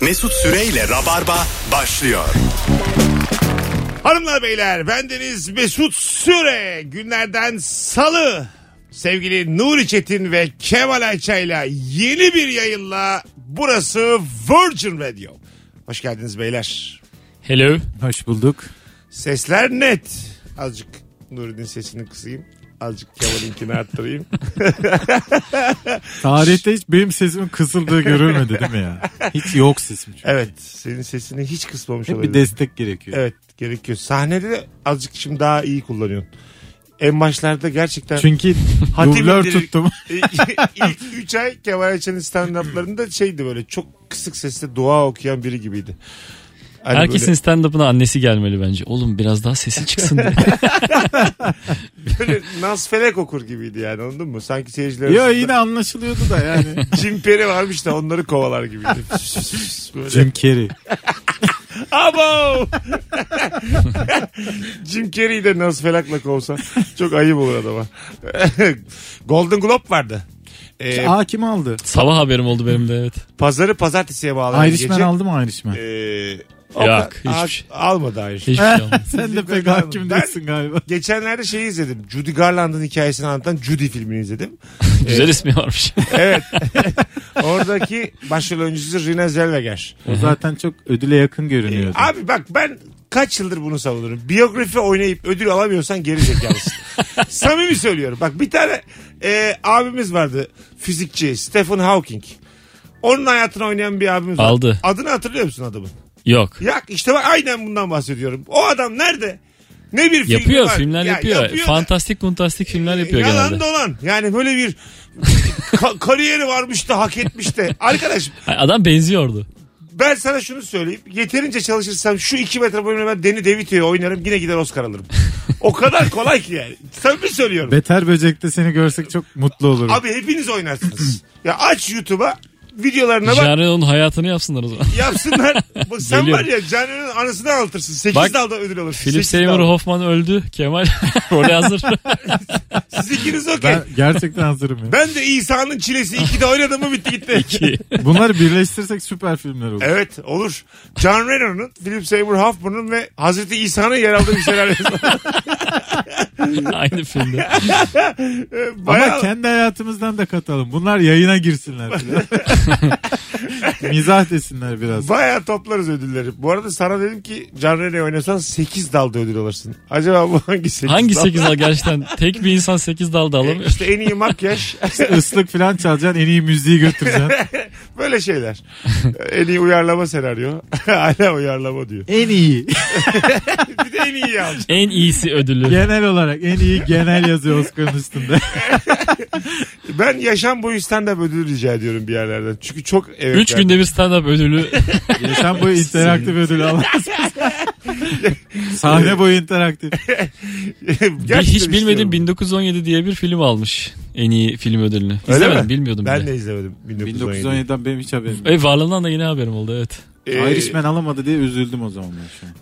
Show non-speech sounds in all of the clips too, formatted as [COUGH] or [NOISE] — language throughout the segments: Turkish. Mesut Süreyle Rabarba başlıyor. Hanımlar beyler bendeniz Mesut Süre günlerden salı sevgili Nuri Çetin ve Kemal Ayça ile yeni bir yayınla burası Virgin Radio. Hoş geldiniz beyler. Hello. Hoş bulduk. Sesler net. Azıcık Nuri'nin sesini kısayım. Azıcık Kemal'inkini [LAUGHS] arttırayım. Tarihte hiç benim sesimin [LAUGHS] kısıldığı görülmedi değil mi ya? Hiç yok sesim çünkü. Evet senin sesini hiç kısmamış Hep bir olabilir. destek gerekiyor. Evet gerekiyor. Sahnede de azıcık şimdi daha iyi kullanıyorsun. En başlarda gerçekten... Çünkü Hatim dublör indirir- [LAUGHS] tuttum. İlk 3 E, ay Kemal Ayça'nın stand-up'larında şeydi böyle çok kısık sesle dua okuyan biri gibiydi. Hani Herkesin stand-up'ına annesi gelmeli bence. Oğlum biraz daha sesi [LAUGHS] çıksın diye. böyle, böyle nasfelek okur gibiydi yani anladın mı? Sanki seyirciler Yo yine anlaşılıyordu da yani. cimperi varmış da onları kovalar [LAUGHS] gibiydi. böyle. Jim Carrey. Abo! [LAUGHS] Jim Carrey'i de nasfelakla kovsa çok ayıp olur adama. [LAUGHS] Golden Globe vardı. Ee, Aa kim aldı? Sabah haberim oldu benim de evet. pazarı pazartesiye bağlanan Ayrışmen gece. aldı mı Ayrışmen? Ee, Yok, o- hiçbir al- şey. Almadı Ayrışmen. Hiçbir şey olmadı. [LAUGHS] Sen de pek hakim değilsin galiba. Geçenlerde şey izledim. Judy Garland'ın hikayesini anlatan Judy filmini izledim. Güzel ismi varmış. [LAUGHS] Evet. [LAUGHS] Oradaki başrol oyuncusu Rina Zellweger. O zaten çok ödüle yakın görünüyordu. Abi bak ben kaç yıldır bunu savunurum. Biyografi oynayıp ödül alamıyorsan geri [LAUGHS] zekalısın. Samimi söylüyorum. Bak bir tane e, abimiz vardı. Fizikçi Stephen Hawking. Onun hayatını oynayan bir abimiz var. Aldı. Adını hatırlıyor musun adamın? Yok. Ya işte bak aynen bundan bahsediyorum. O adam nerede? Ne bir filmi Yapıyor var? filmler Ya yapıyor. yapıyor da- E, Fantastik fantastik filmler yapıyor Yalan genelde. dolan. Yani böyle bir [LAUGHS] ka- kariyeri varmış da hak etmiş de. Arkadaş Ay, Adam benziyordu. ben sana şunu söyleyeyim. Yeterince çalışırsam şu iki metre boyunca ben Deni DeVito'yu oynarım yine gider Oscar alırım. o kadar kolay ki yani. Samimi söylüyorum. Beter Böcek'te seni görsek çok mutlu olurum. Abi hepiniz oynarsınız. ya aç YouTube'a videolarına bak Jared'in hayatını yapsınlar [LAUGHS] o zaman. [LAUGHS] yapsınlar. Bak sen Geliyorum. var ya Caner'in anısını ağlatırsın. 8 Bak, dalda ödül alırsın. Philip Sekiz Seymour dalda. Hoffman öldü. Kemal [LAUGHS] [LAUGHS] role hazır. Siz [LAUGHS] ikiniz okey. ben Ben... gerçekten hazırım ya. de İsa'nın çilesi 2'de oynadım mı bitti gitti. Bunları birleştirsek süper filmler olur. [LAUGHS] Evet olur. John Renner'ın, Philip Seymour Hoffman'ın ve Hazreti İsa'nın yer aldığı bir senaryo. [LAUGHS] Aynı filmde. Ee, Ama Bayağı kendi hayatımızdan da katalım. Bunlar yayına [LAUGHS] girsinler. filan. Mizah desinler biraz. bayağı toplarız ödülleri. Bu arada sana dedim ki John Renner oynasan 8 dalda ödül alırsın. Acaba bu hangi 8 Hangi dal? 8 dal gerçekten? Tek bir insan 8 E, dalda alamıyor. İşte en iyi makyaj. [LAUGHS] [LAUGHS] Islık falan çalacaksın en iyi müziği götüreceksin. Böyle şeyler. en iyi uyarlama senaryo. [LAUGHS] Hala uyarlama diyor. en iyi. Bir de en iyi yazacak. En iyisi ödülü. Genel olarak en iyi genel yazıyor Oscar'ın üstünde. Ben yaşam boyu stand-up ödülü rica ediyorum bir yerlerden. Çünkü çok evet. 3 günde bir [LAUGHS] stand-up ödülü. Yaşam boyu interaktif ödülü alamazsın. Sahne boyu interaktif. [LAUGHS] Bir hiç bilmediğim 1917 diye bir film almış. En iyi film ödülünü. İzlemedim bilmiyordum Ben bile. de izlemedim. 1917. 1917'den benim hiç haberim yok. E, varlığından da yeni haberim oldu evet. Ee, Irishman alamadı diye üzüldüm o zaman ben şu an.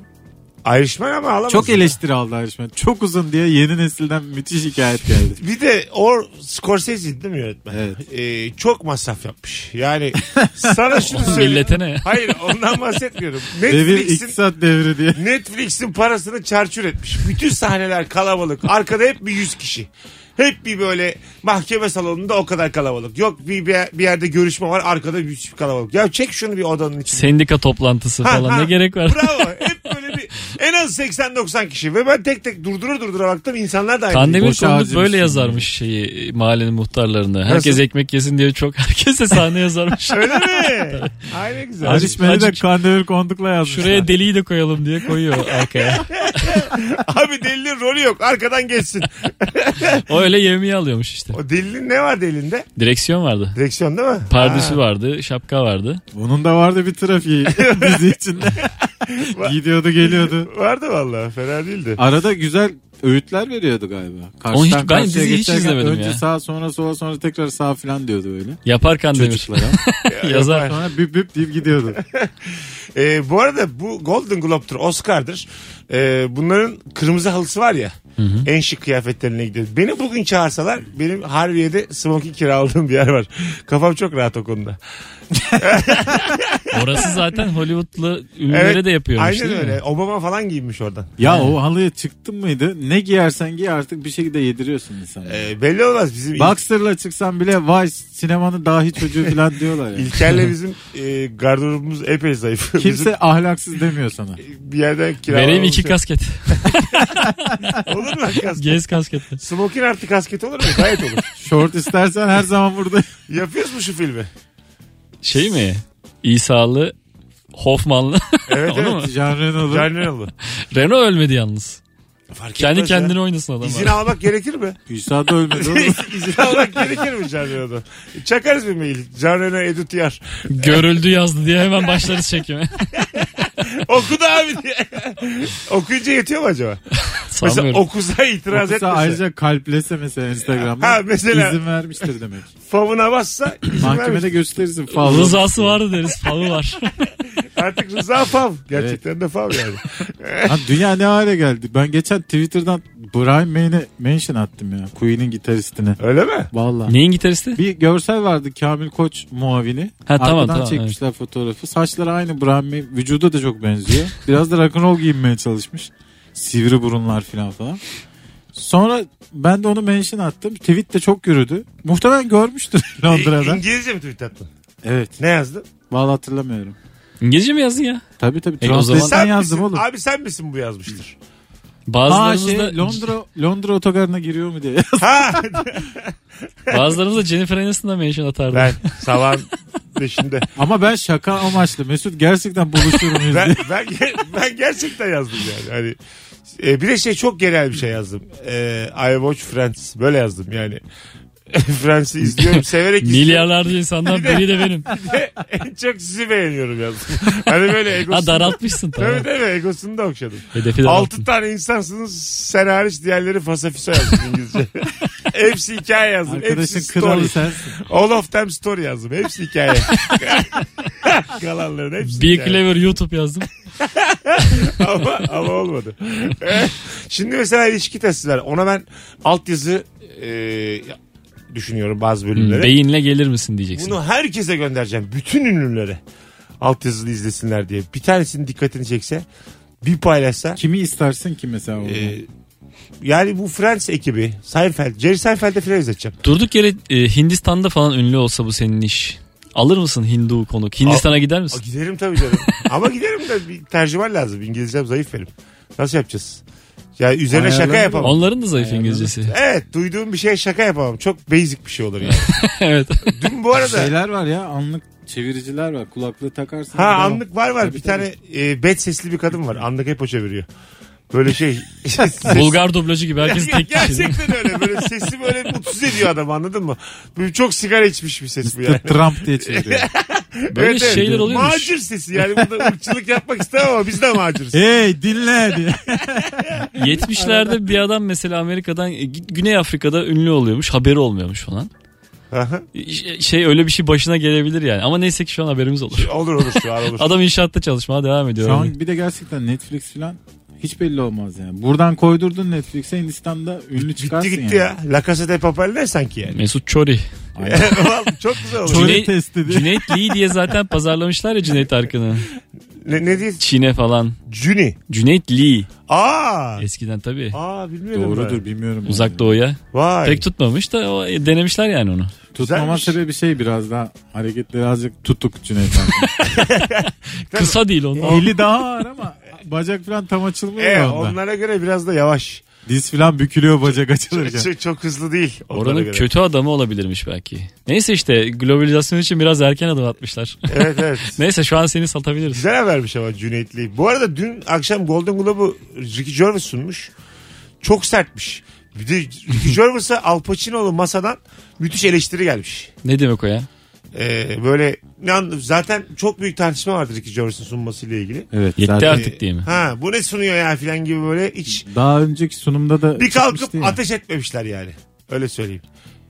Ayrışman Ee, ama alamaz. Çok eleştiri aldı Irishman. Çok uzun diye yeni nesilden müthiş hikayet geldi. Bir de o Scorsese değil mi yönetmen? Evet. Ee, çok masraf yapmış. [LAUGHS] Yani sana şunu söyleyeyim. Millete ne? Hayır ondan [LAUGHS] bahsetmiyorum. Devir Netflix'in iktisat devri diye. Netflix'in parasını çarçur etmiş. Bütün sahneler kalabalık. Arkada hep bir yüz kişi. Hep bir böyle mahkeme salonunda o kadar kalabalık. Yok bir, bir bir yerde görüşme var arkada bir sürü kalabalık. Ya çek şunu bir odanın içine. Sendika toplantısı Ha, [LAUGHS] falan ha. ne gerek var? Bravo. Hep böyle bir en az 80-90 kişi ve ben tek tek durdura durdura baktım insanlar da aynı. Kandemir Boşa Kondu harcamışsın böyle yazarmış şeyi e, mahallenin muhtarlarını. Herkes Nasıl? ekmek yesin diye çok herkese [LAUGHS] sahne yazarmış. Öyle mi? [LAUGHS] Aynı güzel. Acı- Irishman'ı da acık- kandemir kondukla yazmışlar. Şuraya deliği de koyalım diye koyuyor arkaya. Abi delinin rolü yok. Arkadan geçsin. O öyle yemeği alıyormuş işte. O delinin ne vardı elinde? Direksiyon vardı. Direksiyon değil mi? Pardüsü vardı, şapka vardı. Bunun da vardı bir trafiği dizi içinde. Gidiyordu geliyordu. Vardı vallahi fena değildi. Arada güzel öğütler veriyordu galiba. Onu hiç- ben karşıya diziyi hiç geçerken izlemedim önce ya. sağ sonra sola sonra tekrar sağ falan diyordu böyle. Yapar Kandemir. [LAUGHS] Çocuklara. [LAUGHS] Yazar. sonra büp büp deyip gidiyordu. Ee, bu arada bu Golden Globe'dur, Oscar'dır. Ee, bunların kırmızı halısı var ya. En şık kıyafetlerine gidiyoruz. Beni bugün çağırsalar benim Harbiye'de smoking kiraladığım bir yer var. Kafam çok rahat o konuda. Orası [LAUGHS] zaten Hollywood'lu ünlülere de yapıyormuş Aynen değil mi? öyle. Obama falan giymiş oradan. Ya o halıya çıktın mıydı? Ne giyersen giy artık bir şekilde yediriyorsun insanı. Ee, belli olmaz bizim Boxer'la çıksan bile vay sinemanın dahi çocuğu [LAUGHS] falan diyorlar ya. İlker'le bizim e, gardırobumuz epey zayıf. Kimse ahlaksız demiyor sana. Bizim bir yerden kiralamamız. Vereyim iki kasket. [LAUGHS] Olur mu kasket? Gez kasketle. Smoking artı kasket olur mu? Gayet olur. [LAUGHS] Şort istersen her zaman burada. Yapıyoruz mu şu filmi? Şey mi? İsa'lı Hoffman'lı. [LAUGHS] Evet Onu mu? evet. Janren olur. Canlı oldu. Renault ölmedi yalnız. Fark Kendi etmez ya. kendine oynasın adam. İzin almak gerekir mi? İsa da ölmedi oğlum. İzin almak gerekir mi Can Reno'dan? Çakarız bir mail. Can Reno Edut [LAUGHS] Yar. [LAUGHS] Görüldü yazdı diye hemen başlarız çekime. Okudu abi diye. [LAUGHS] Okuyunca yetiyor mu acaba? Mesela Sanmıyorum. okusa itiraz Yoksa etmese. ayrıca kalplese mesela Instagram'da Ha, mesela. izin vermiştir demek. Favuna bassa izin vermiş. Mahkemede gösterirsin falan. Rızası vardı deriz. Falı var. Artık Rıza fav. Gerçekten de fav yani. Ha, dünya ne hale geldi? Ben geçen Twitter'dan Brian May'ne mention attım ya. Queen'in gitaristine. Öyle mi? Vallahi. Neyin gitaristi? Bir görsel vardı Kamil Koç muavini. Ha, tamam, Arkadan tamam, çekmişler fotoğrafı. Saçları aynı Brian May. Vücuda da çok [LAUGHS] benziyor. Biraz da rock'n'roll giyinmeye çalışmış. Sivri burunlar falan falan. Sonra ben de onu mention attım. Tweet de çok yürüdü. Muhtemelen görmüştür [LAUGHS] Londra'da. İngilizce mi tweet attın? evet. Ne yazdın? Vallahi hatırlamıyorum. İngilizce mi yazdın ya? Tabii tabii. E, o Translate'den zaman- Sen yazdım misin? oğlum. Abi sen misin bu yazmıştır? Aa Bazılarımız şey da- Londra Londra otogarına giriyor mu diye. ha [LAUGHS] Bazılarımız da Jennifer Aniston'da mention atardı. ben sabahın beşinde. Ama ben şaka amaçlı. Mesut gerçekten buluşur muyuz Ben, diye. ben, ger- ben gerçekten yazdım yani. Hani, e, bir de şey çok genel bir şey yazdım. E, I watch Friends. Böyle yazdım yani. [LAUGHS] Friends'i izliyorum. Severek izliyorum. [LAUGHS] Milyarlarca insandan biri de benim. en çok sizi beğeniyorum yazdım. Hani böyle Ha egosunu. daraltmışsın tamam. Tabii tabii egosunu da okşadım. Hedefi daralttın. Altı tane insansınız sen hariç diğerleri fasafiso yazdım İngilizce. Hepsi hikaye yazdım. Arkadaşın Hepsi story. kralı sensin. All of them story yazdım. Hepsi hikaye. Kalanların hepsi Be hikaye. Clever YouTube yazdım. [LAUGHS] ama, ama olmadı. Eh, Şimdi mesela ilişki testiler. Ona ben altyazı e, düşünüyorum bazı bölümlere. Beyinle gelir misin diyeceksin. Bunu herkese göndereceğim. Bütün ünlülere. Altyazılı izlesinler diye. Bir tanesinin dikkatini çekse bir paylaşsa. Kimi istersin ki mesela orada? e, yani bu Friends ekibi Seinfeld, Jerry Seinfeld'e filan izleteceğim. Durduk yere e, Hindistan'da falan ünlü olsa bu senin iş. Alır mısın Hindu konuk? Hindistan'a gider Aa, misin? giderim tabii canım. Ama giderim de bir tercüman lazım. İngilizcem zayıf benim. Nasıl yapacağız? Ya üzerine şaka Ayarlanır yapamam. Onların da zayıf İngilizcesi. Evet duyduğum bir şeye şaka yapamam. Çok basic bir şey olur yani. [LAUGHS] evet. Dün bu arada Şeyler var ya anlık çeviriciler var. Kulaklığı takarsın. ha Devam. anlık var var Tabii, bir tabii. tane e, bet sesli bir kadın var. Anlık hep o çeviriyor. Böyle şey. [LAUGHS] ses- Bulgar dublajı [LAUGHS] gibi herkes Ger- tek kişi. Gerçekten öyle. Böyle sesi böyle mutsuz ediyor adam anladın mı? Böyle çok sigara içmiş bir ses bu yani. Trump [LAUGHS] diye çeviriyor. Böyle şeyler oluyormuş. Macir sesi yani burada ırkçılık yapmak istemem ama biz de maciriz. hey dinle [LAUGHS] diye. 70'lerde bir adam mesela Amerika'dan e, Gü- Güney Afrika'da ünlü oluyormuş. Haberi olmuş falan. Aha. E, Şey öyle bir şey başına gelebilir yani. Ama neyse ki şu an [LAUGHS] haberimiz olur. olur olur şu an olur. Adam inşaatta çalışmaya devam ediyor. Şu Öyle. an bir de gerçekten Netflix falan hiç belli olmaz yani. Buradan koydurdun Netflix'e Hindistan'da ünlü çıkarsın Gitti gitti yani. ya. La Casa de Papel ne sanki [LAUGHS] yani? [LAUGHS] Mesut Çori. Aynen. Vallahi çok güzel olur. Çok- Çore Cüneyt- testi diye. Cüneyt Lee diye zaten pazarlamışlar ya Cüneyt Arkın'ı. Ne, ne diye? Çin'e falan. Juni. Cüneyt Lee Aa. eskiden tabii. Aa bilmiyorum. Doğrudur ben. bilmiyorum. Uzak Yani. Doğu'ya. Vay. Pek tutmamış da o, e, denemişler yani onu. Tutmama Güzelmiş. sebebi şey biraz daha hareketleri azıcık tutuk Cüneyt Arkın. Kısa değil onun. Eli daha ağır ama bacak falan tam açılmıyor E, ya onda. onlara göre biraz da yavaş. Diz falan bükülüyor bacak açılırken. Çok, çok hızlı değil. onlara Oranın göre. kötü adamı olabilirmiş belki. Neyse işte globalizasyon için biraz erken [LAUGHS] adım atmışlar. Evet [LAUGHS] evet. Neyse şu an seni satabiliriz. Güzel habermiş ama Cüneyt Lee. Bu arada dün akşam Golden Globe'u Ricky Gervais sunmuş. Çok sertmiş. Bir de [LAUGHS] Ricky Gervais'e Al Pacino'lu masadan müthiş eleştiri gelmiş. Ne demek o ya? Ee, böyle ne an- zaten çok büyük tartışma vardı Ricky Gervais'in sunmasıyla ilgili. Ee, Evet. Yetti zaten- artık diye mi? Ha bu ne sunuyor ya filan gibi böyle hiç Daha önceki sunumda da bir kalkıp çıkmıştı ya. ateş etmemişler yani. Öyle söyleyeyim.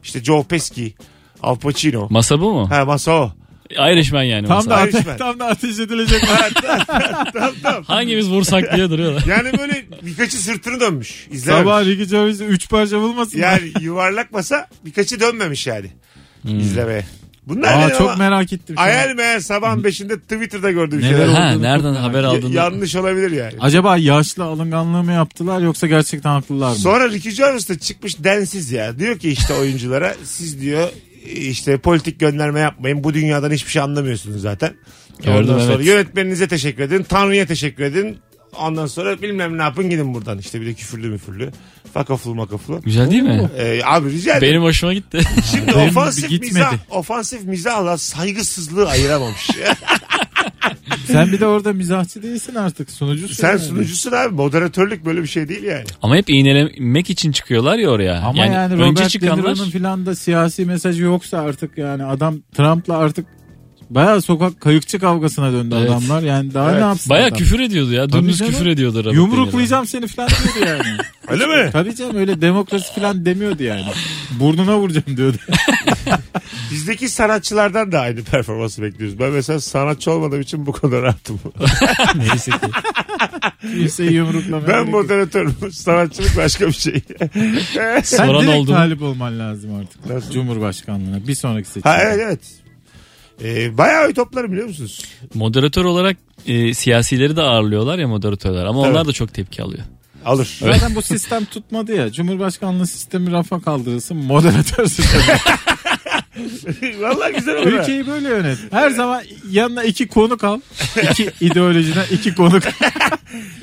İşte Joe Pesci, Al Pacino. Masa bu mu? [LAUGHS] Ha masa o. Ayrışman yani. Tam mesela. da, ate- Irishman. tam da [LAUGHS] ateş edilecek. Hangimiz vursak [LAUGHS] diye duruyorlar. Yani böyle birkaçı sırtını dönmüş. İzlememiş. Sabah Ricky Gervais'i 3 parça bulmasın. Yani yuvarlak masa birkaçı dönmemiş yani. Hmm. İzlemeye. Bunlar Aa, benim çok ama merak ettim. şu an. Ayar meğer sabahın beşinde Twitter'da gördüğüm Neler şeyler. oldu? Ya- ha, olduğunu nereden çok haber aldın? yanlış olabilir yani. Acaba yaşlı alınganlığı mı yaptılar yoksa gerçekten haklılar mı? Sonra Ricky Gervais de çıkmış densiz ya. Diyor ki işte oyunculara siz diyor işte politik gönderme yapmayın. Bu dünyadan hiçbir şey anlamıyorsunuz zaten. Gördüm, Ondan sonra evet. yönetmeninize teşekkür edin. Tanrı'ya teşekkür edin. Ondan sonra bilmem ne yapın gidin buradan. İşte bir de küfürlü müfürlü. Fakaflu makaflu. Güzel değil mi? Ee, abi rica ederim. Benim [LAUGHS] hoşuma gitti. Şimdi Benim ofansif gitmedi. mizah, ofansif mizahla saygısızlığı ayıramamış. Sen bir de orada mizahçı değilsin artık sunucusun. Sen yani. sunucusun abi. Moderatörlük böyle bir şey değil yani. Ama hep iğnelemek için çıkıyorlar ya oraya. Ama yani, önce Robert De çıkanlar Niro'nun filan da siyasi mesajı yoksa artık yani adam Trump'la artık bayağı sokak kayıkçı kavgasına döndü Evet. adamlar. Yani daha Evet. ne yapsın baya adam? küfür ediyordu ya. Tabii Dümdüz canım. küfür ediyordu Robert De Niro. Yumruklayacağım seni filan diyordu [LAUGHS] yani. Öyle mi? Tabii canım öyle demokrasi filan demiyordu yani. Burnuna vuracağım [LAUGHS] diyordu. Bizdeki sanatçılardan da aynı performansı bekliyoruz. Ben mesela sanatçı olmadığım için bu kadar rahatım. Neyse ki. Kimseyi yumruklamaya Ben gerek yok. moderatörüm. Sanatçılık başka bir şey. Sen Soran direkt oldu mu? talip olman lazım artık. Nasıl? Cumhurbaşkanlığına bir sonraki seçim. ha evet evet. Ee, bayağı oy toplarım biliyor musunuz? Moderatör olarak e, siyasileri de ağırlıyorlar ya moderatörler. Ama Tabii. onlar da çok tepki alıyor. Alır. Zaten bu sistem tutmadı ya. Cumhurbaşkanlığı sistemi rafa kaldırılsın. Moderatör sistemi. [LAUGHS] Vallahi güzel olur. ha. Ülkeyi böyle yönet. Her zaman yanına iki konuk al. İki ideolojiden [LAUGHS] iki konuk.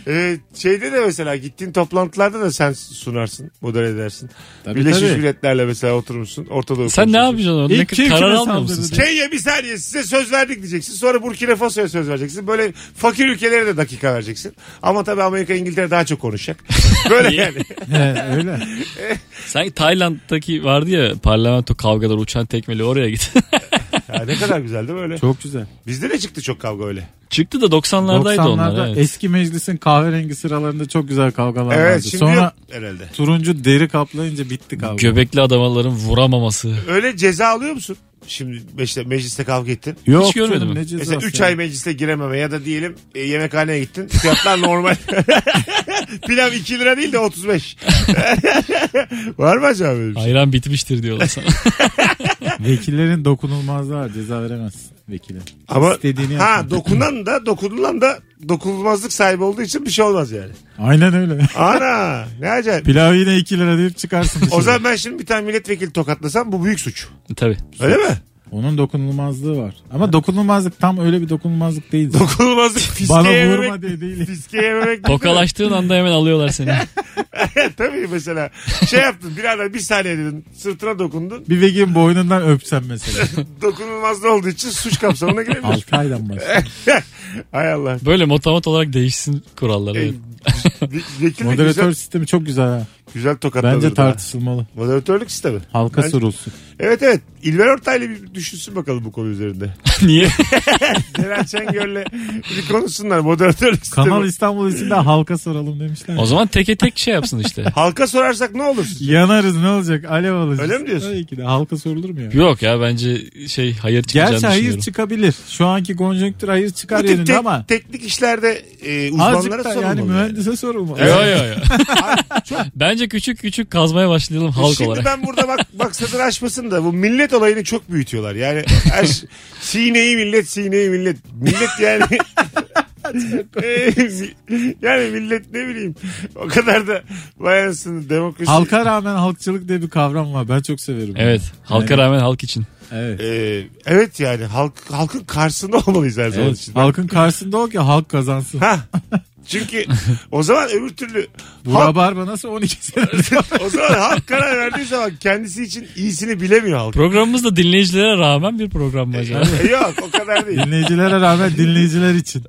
Ee, şeyde de mesela gittiğin toplantılarda da sen sunarsın, modere edersin. Tabii, Birleşmiş tabii. Milletler'le mesela oturmuşsun. Ortada Sen ne yapacaksın orada? Ne- İlk kim karar kime almıyor musun saldırdı sen? Kenya bir saniye size söz verdik diyeceksin. Sonra Burkina Faso'ya söz vereceksin. Böyle fakir ülkelere de dakika vereceksin. Ama tabii Amerika İngiltere daha çok [LAUGHS] konuşacak. Böyle yani. He, öyle. Sen Tayland'daki vardı ya parlamento kavgaları uçan tekmeli oraya git. [LAUGHS] Ya ne kadar güzel değil mi öyle? Çok güzel. Bizde de çıktı çok kavga öyle. Çıktı da 90'lardaydı 90'larda onlar. Evet. eski meclisin kahverengi sıralarında çok güzel kavgalar vardı. Evet şimdi Sonra yok herhalde. turuncu deri kaplayınca bitti kavga. Göbekli adamların vuramaması. Öyle ceza alıyor musun? Şimdi işte mecliste kavga ettin. Yok Hiç görmedim canım, ben. ne cezası. Mesela 3 ya. ay meclise girememe ya da diyelim e, yemekhaneye gittin. Fiyatlar normal. [LAUGHS] Pilav 2 lira değil de 35. [LAUGHS] Var mı acaba böyle bir şey? Ayran bitmiştir diyorlar sana. Vekillerin dokunulmazlığı var. Ceza veremezsin vekile. Ama İstediğini ha yapma. dokunan da dokunulan da dokunulmazlık sahibi olduğu için bir şey olmaz yani. Aynen öyle. [LAUGHS] Ana ne acayip. Pilav yine 2 lira deyip çıkarsın. O dışarı. zaman ben şimdi bir tane milletvekili tokatlasam bu büyük suç. [LAUGHS] Tabii. Öyle [LAUGHS] mi? Onun dokunulmazlığı var. Ama dokunulmazlık tam öyle bir [LAUGHS] dokunulmazlık değil. Dokunulmazlık Bana fiskeye vurma yememek. diye değil. Fiskeye [LAUGHS] yememek. Tokalaştığın anda hemen alıyorlar seni. [LAUGHS] [LAUGHS] Tabii mesela şey yaptın birader bir saniye dedin sırtına dokundun. [LAUGHS] Bir vegin boynundan öpsen mesela. Dokunulmazlığı olduğu için suç kapsamına giremiyorsun. 6 aydan başlıyor. Hay Allah. Böyle motamot olarak değişsin kurallar. E, evet. ve- Vekil de Moderatör güzel, sistemi çok güzel ha. güzel tokatladı. Bence tartışılmalı. Moderatörlük sistemi. Halka Ben- sorulsun. Evet evet. İlber Ortaylı bir düşünsün bakalım bu konu üzerinde. [LAUGHS] Niye? Celal Şengör'le bir konuşsunlar moderatörlük sistemi. Kanal İstanbul için de halka soralım demişler. O zaman teke tek şey yapsın işte. Halka sorarsak ne olur? Yanarız ne olacak? Alev alacağız. Öyle mi diyorsun? Tabii ki de halka sorulur mu ya? Yok ya bence şey hayır çıkacağını Gerçi hayır düşünüyorum. çıkabilir. Şu anki konjonktür hayır Bu çıkar tip yerinde tek- ama teknik işlerde e, uzmanlara azıcık da sorulmalı. yani yani. mühendise sorulmalı. Yo, yo, yo. [LAUGHS] Bence küçük küçük kazmaya başlayalım halk Şimdi olarak. ben burada bak maksadını aşmasın da bu millet olayını çok büyütüyorlar. Yani her şey- sineyi millet, sineyi millet. Millet yani [LAUGHS] yani millet ne bileyim o kadar da bayansın demokrasi. Halka rağmen halkçılık diye bir kavram var. Ben çok severim. Evet. Halka Yani- rağmen halk için. Evet. Ee, evet yani halk halkın karşısında olmalıyız her zaman Evet, için. Halkın karşısında o ki halk kazansın. Ha. Çünkü o zaman öbür türlü Bu halk- rabarba nasıl 12 sene? [LAUGHS] o zaman halk karar verdiği zaman kendisi için iyisini bilemiyor halk. Programımız da dinleyicilere rağmen bir program mı acaba? E, Yok o kadar değil. Dinleyicilere rağmen dinleyiciler için.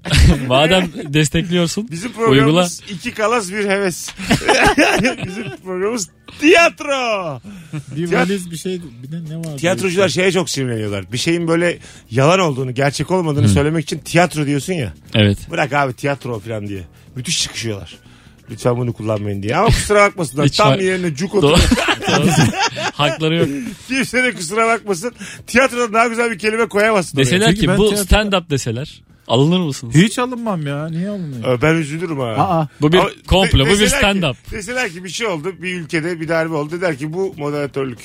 Madem destekliyorsun. Bizim programımız iki kalas bir heves. [LAUGHS] Bizim programımız tiyatro. Bir valiz bir şey bir de ne var? Tiyatrocular şeye çok sinirleniyorlar. Bir şeyin böyle yalan olduğunu, gerçek olmadığını söylemek için tiyatro diyorsun ya. [LAUGHS] Evet. Bırak abi tiyatro falan diye. Müthiş çıkışıyorlar. Lütfen bunu kullanmayın diye. Ama kusura bakmasınlar. Hiç Tam var- yerine cuk Doğru. oturuyor. Hakları yok. Kimse de kusura bakmasın. Tiyatroda daha güzel bir kelime koyamazsın. oraya. Deseler Çünkü ki ben bu tiyatro- stand up deseler alınır mısınız? Hiç alınmam ya. Niye alınıyor? Ö, Ben üzülürüm ha. Aa. Bu bir Ama komplo, de- bu bir deseler ki- stand up. Deseler ki bir şey oldu, bir ülkede bir darbe oldu. Der ki bu [LAUGHS] moderatörlük.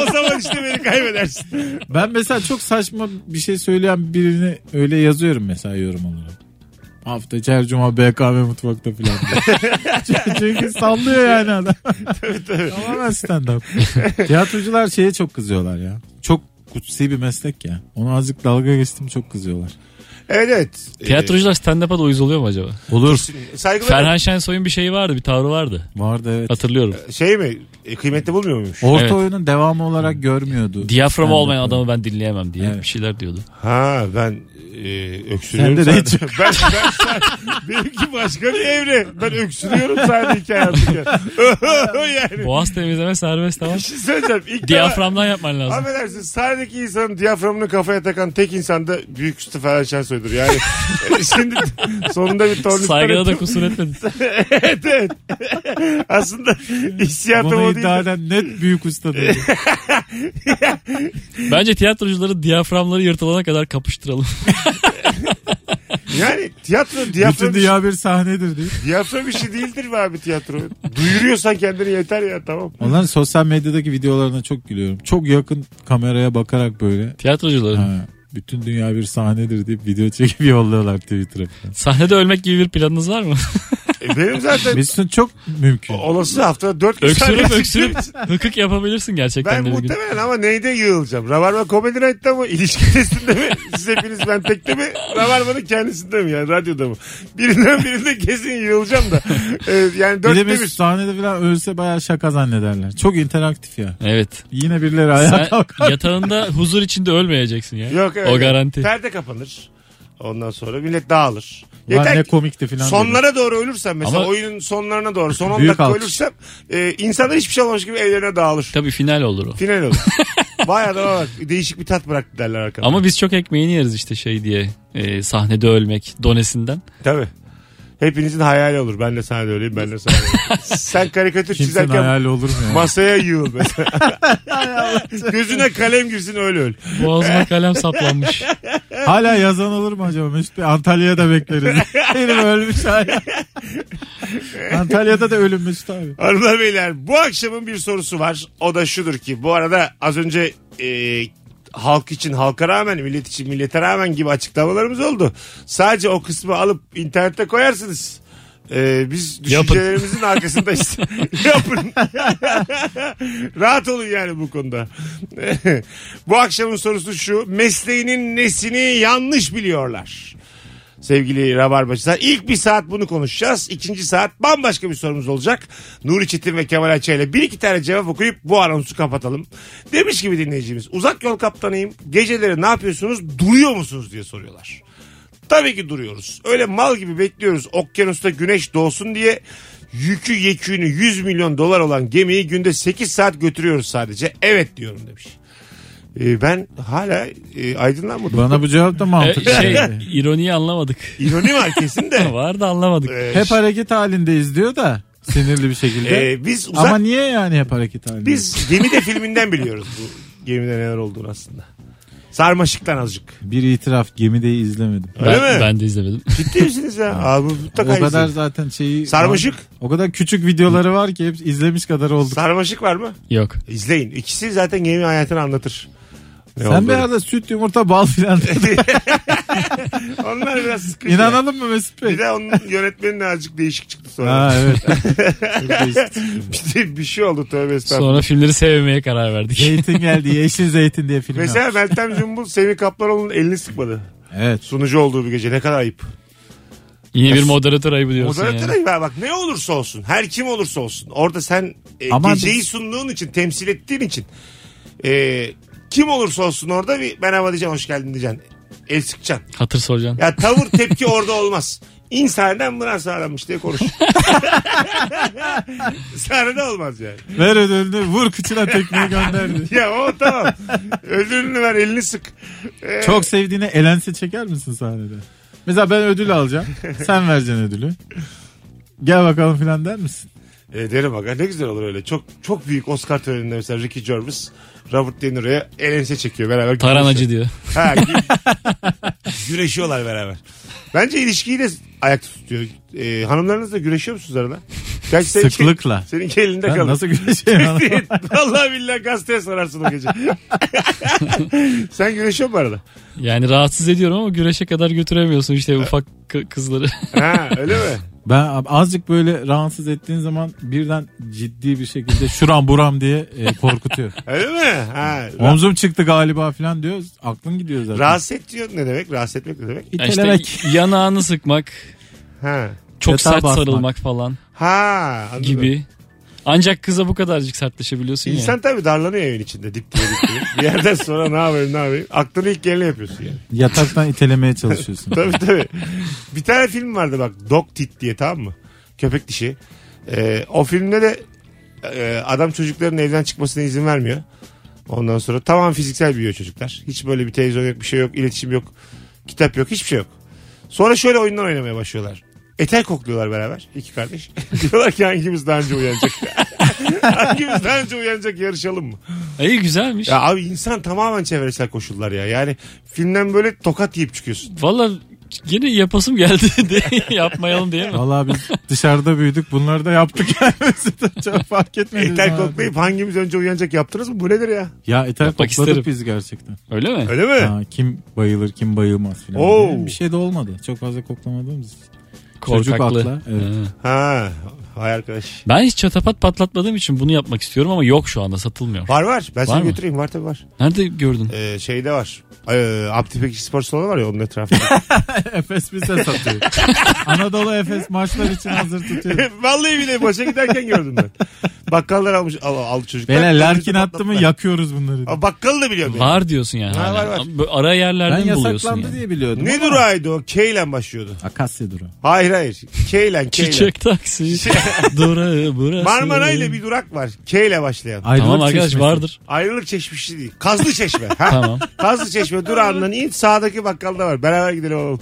o zaman işte beni kaybedersin. Ben mesela çok saçma bir şey söyleyen birini öyle yazıyorum mesela yorum olarak. Hafta içi her cuma BKM mutfakta [LAUGHS] falan. diye. Çünkü sallıyor yani adam. Tamamen stand up. Tiyatrocular şeye çok kızıyorlar ya. Çok kutsi bir meslek ya. Ona azıcık dalga geçtim çok kızıyorlar. Evet evet. Tiyatrocular stand up'a da uyuz oluyor mu acaba? Ee, Olur. Ee, saygılar. Ferhan Şensoy'un bir şeyi vardı, bir tavrı vardı. Vardı evet. Hatırlıyorum. Şey mi? E, kıymetli bulmuyor muymuş? Orta Evet. oyunun devamı olarak görmüyordu. Diyaframı Stand-up'ı. olmayan adamı ben dinleyemem diye Evet. bir şeyler diyordu. Ha ben e, öksürüyorum. Sende [LAUGHS] de [LAUGHS] sadece. ben, ben, sen- benimki başka bir evre. Ben öksürüyorum sadece hikaye [LAUGHS] anlatırken. [LAUGHS] yani. Boğaz temizleme [LAUGHS] serbest tamam. Bir şey söyleyeceğim. İlk defa- Diyaframdan yapman lazım. Affedersin sahnedeki insanın diyaframını kafaya takan tek insan da büyük üstü Ferhan Şensoy'dur. Yani e, şimdi sonunda bir tornistan Saygıda da kusur etmedin. [LAUGHS] [LAUGHS] evet, evet. Aslında hissiyatım Bunu o değil. iddia eden net büyük usta dedi. Bence tiyatrocuları diyaframları yırtılana kadar kapıştıralım. [LAUGHS] Yani tiyatro Bütün diyafram, işi- dünya bir sahnedir diye. diyafram işi değildir mi abi tiyatro? Duyuruyorsan kendini yeter ya tamam. Onların sosyal medyadaki videolarına çok gülüyorum. Çok yakın kameraya bakarak böyle. Tiyatrocuların. Ha, bütün dünya bir sahnedir deyip video çekip [LAUGHS] yolluyorlar Twitter'a. falan. Sahnede ölmek gibi bir planınız [LAUGHS] var mı? E, benim zaten Mesut'un çok mümkün. olası hafta dört kez öksürüp sahne- [LAUGHS] öksürüp hıkık yapabilirsin gerçekten Ben bir gün. muhtemelen ama neyde yığılacağım? Rabarba Comedy Night'ta mı? İlişki testinde mi? Siz hepiniz ben tekte mi? Rabarba'nın kendisinde mi? Yani radyoda mı? Birinden birinde kesin yığılacağım da. Ee, yani Bir de dörtte Mesut bir. sahnede falan ölse bayağı şaka zannederler. Çok interaktif ya. Evet. Yine birileri ayağa Sen kalkar. yatağında huzur içinde ölmeyeceksin ya. Yok evet. O garanti. Perde kapanır. Ondan sonra millet dağılır. Lan ne Yeter ki komikti falan. dedi. sonlara doğru ölürsem mesela Ama- oyunun sonlarına doğru son 10 Büyük dakika alkış. ölürsem e, insanlar hiçbir şey olmamış gibi evlerine [LAUGHS] dağılır. Tabii final olur o. Final olur. Vay adama bak değişik bir tat bıraktı derler arkadaşlar. Ama biz çok ekmeğini yeriz işte şey diye. e, sahnede ölmek donesinden. Tabii. Hepinizin hayali olur. Ben de sana da öyleyim. Ben de sana da [LAUGHS] öyleyim. Sen karikatür Kimsenin çizerken hayali olur mu ya? masaya yığıl mesela. Gözüne kalem girsin öyle öl. Boğazıma kalem [LAUGHS] saplanmış. [LAUGHS] E, Hala yazan olur mu acaba? Mesut Bey Antalya'ya [LAUGHS] da bekleriz. Herif ölmüş hala. Antalya'da da ölüm Mesut abi. Hanımlar beyler bu akşamın bir sorusu var. O da şudur ki bu arada az önce e, halk için halka rağmen millet için millete rağmen gibi açıklamalarımız oldu. Sadece o kısmı alıp internette koyarsınız. E, biz Yapın. düşüncelerimizin arkasındayız. Yapın. [LAUGHS] Rahat olun yani bu konuda. [LAUGHS] bu akşamın sorusu şu. Mesleğinin nesini yanlış biliyorlar? sevgili Rabarbacılar. İlk bir saat bunu konuşacağız. İkinci saat bambaşka bir sorumuz olacak. Nuri Çetin ve Kemal Ayça ile bir iki tane cevap okuyup bu anonsu kapatalım. Demiş gibi dinleyicimiz uzak yol kaptanıyım. Geceleri ne yapıyorsunuz duruyor musunuz diye soruyorlar. Tabii ki duruyoruz. Öyle mal gibi bekliyoruz okyanusta güneş doğsun diye yükü yekünü 100 milyon dolar olan gemiyi günde 8 saat götürüyoruz sadece. Evet diyorum demiş. Ee, ben hala e, aydınlanmadım. Bana bu cevap da E, mantıklı. şey geldi. ironiyi [LAUGHS] anlamadık. İroni var kesin de. Var da anlamadık. Ee, Hep hareket halindeyiz diyor da sinirli bir [LAUGHS] şekilde. Ee, biz uzak Ama niye yani hep hareket halindeyiz? biz gemide filminden biliyoruz bu gemide neler olduğunu aslında. Sarmaşıktan azıcık. Bir itiraf gemideyi izlemedim. Öyle ben, mi? ben de izlemedim. [LAUGHS] Ciddi misiniz ya? Abi O mutlaka kadar izleyin. zaten şeyi... Sarmaşık. O kadar küçük videoları var ki hep izlemiş kadar olduk. Sarmaşık var mı? Yok. İzleyin. İkisi zaten gemi hayatını anlatır. Ne Sen bir olduğunu. arada süt, yumurta, bal filan. Onlar biraz sıkıcı. İnanalım mı Mesut Bey? Bir de onun yönetmeni de azıcık değişik çıktı sonra. Ha evet. [LAUGHS] Çok değişik. [LAUGHS] bir, de bir şey oldu tövbe estağfurullah. Sonra filmleri sevmemeye karar verdik. zeytin geldi. Yeşil zeytin diye film yaptı. [LAUGHS] Mesela Meltem Cumbul Sevgi Kaplanoğlu'nun elini sıkmadı. Evet. Sunucu olduğu bir gece ne kadar ayıp. Yine bir moderatör ayıbı diyorsun Moderatör yani. ayıp abi. bak ne olursa olsun her kim olursa olsun orada sen e, Ama geceyi biz- sunduğun için temsil ettiğin için e, kim olursa olsun orada bir merhaba diyeceksin hoş geldin diyeceksin el sıkacaksın. Hatır soracaksın. Ya tavır [LAUGHS] tepki orada olmaz. İnsandan buna sağlanmış diye [LAUGHS] konuş. Sahnede olmaz yani. Ver ödülünü vur kıçına [LAUGHS] tekmeyi gönderdi. Ya o tamam. Ödülünü ver elini sık. E, Çok sevdiğine elense çeker misin sahnede? Mesela ben ödül alacağım. Sen vereceksin ödülü. Gel bakalım filan der misin? E, derim aga ne güzel olur öyle. Çok çok büyük Oscar töreninde mesela Ricky Gervais Robert De Niro'ya el ense çekiyor beraber. Taranacı güreşiyor. diyor. Ha, [LAUGHS] gü- güreşiyorlar beraber. Bence ilişkiyi de ayakta tutuyor. E, hanımlarınızla güreşiyor musunuz arada? Gerçi seninki- Sıklıkla. Seninki elinde Ben kalır. nasıl güreşeyim? anlamadım. [LAUGHS] Vallahi billahi gazeteye sorarsın o gece. [LAUGHS] Sen güreşiyor musun bu arada? Yani rahatsız ediyorum ama güreşe kadar götüremiyorsun işte ufak kı- kızları. Ha öyle mi? ben azıcık böyle rahatsız ettiğin zaman birden ciddi bir şekilde şuram buram diye e, [LAUGHS] korkutuyor. Öyle mi? Ha. ra- Omzum çıktı galiba falan diyor. Aklın gidiyor zaten. rahatsız et diyor ne demek? Rahatsız etmek ne demek? [LAUGHS] Ya işte İtelerek. yanağını sıkmak, Ha. çok Yatağa sert basmak. sarılmak falan Ha. Anladım. gibi. Ancak kıza bu kadarcık sertleşebiliyorsun ya. İnsan tabii darlanıyor evin içinde dip diye dip diye. Bir yerden sonra ne yapayım ne yapayım. Aklını ilk gelene yapıyorsun yani. Yataktan itelemeye [LAUGHS] çalışıyorsun. Tabii tabii. Bir tane film vardı bak Dog Tit diye tamam mı? Köpek dişi. Ee, o filmde de e, adam çocukların evden çıkmasına izin vermiyor. Ondan sonra tamam fiziksel büyüyor çocuklar. Hiç böyle bir televizyon yok bir şey yok iletişim yok. Kitap yok hiçbir şey yok. Sonra şöyle oyunlar oynamaya başlıyorlar. Etel kokluyorlar beraber iki kardeş. [LAUGHS] Diyorlar ki hangimiz daha önce uyanacak. [LAUGHS] hangimiz daha önce uyanacak yarışalım mı? İyi güzelmiş. Ya abi insan tamamen çevresel koşullar ya. Yani filmden böyle tokat yiyip çıkıyorsun. Valla yine yapasım geldi [LAUGHS] de yapmayalım diye mi? Vallahi biz dışarıda büyüdük. Bunları da yaptık [LAUGHS] yani. Mesut'a Çok fark etmedi. Etel koklayıp hangimiz önce uyanacak yaptınız mı? Bu nedir ya? Ya etel Yapmak kokladık isterim. biz gerçekten. Öyle mi? Öyle mi? Ha, kim bayılır kim bayılmaz filan. Oo. diye. Bir şey de olmadı. Çok fazla koklamadığımız için. Korkaklı. Çocuk akla, evet. Ha. Ha. Hay arkadaş. Ben hiç çatapat patlatmadığım için bunu yapmak istiyorum ama yok şu anda satılmıyor. Var var. Ben Var seni mı? götüreyim. Var tabii var. Nerede gördün? Ee, şeyde var. Ee, Abdülpeki Spor Salonu var ya onun etrafında. Efes bize satıyor. Anadolu Efes maçlar için hazır tutuyor. Vallahi bile maça giderken gördüm ben. Bakkallar almış al, aldı çocuklar. Beyler Larkin Kendisi attı mı patlattılar. yakıyoruz bunları. diye. Aa, Bakkalı da biliyorum. yani. Var diyorsun yani. Ha, hala. var, var. Böyle Ara Ben yerlerden buluyorsun yasaklandı yani. diye biliyordum. Ne ama- durağıydı o? K ile başlıyordu. Akasya durağı. Hayır hayır. K ile K ile. [LAUGHS] Çiçek taksi durağı burası. Marmara ile bir durak var. K ile başlayan. Tamam Ayrılık arkadaş [LAUGHS] çeşmesi. vardır. Ayrılık çeşmesi değil. Kazlı çeşme. Ha? Tamam. Kazlı çeşme durağından in sağdaki bakkalda var. Beraber gidelim oğlum.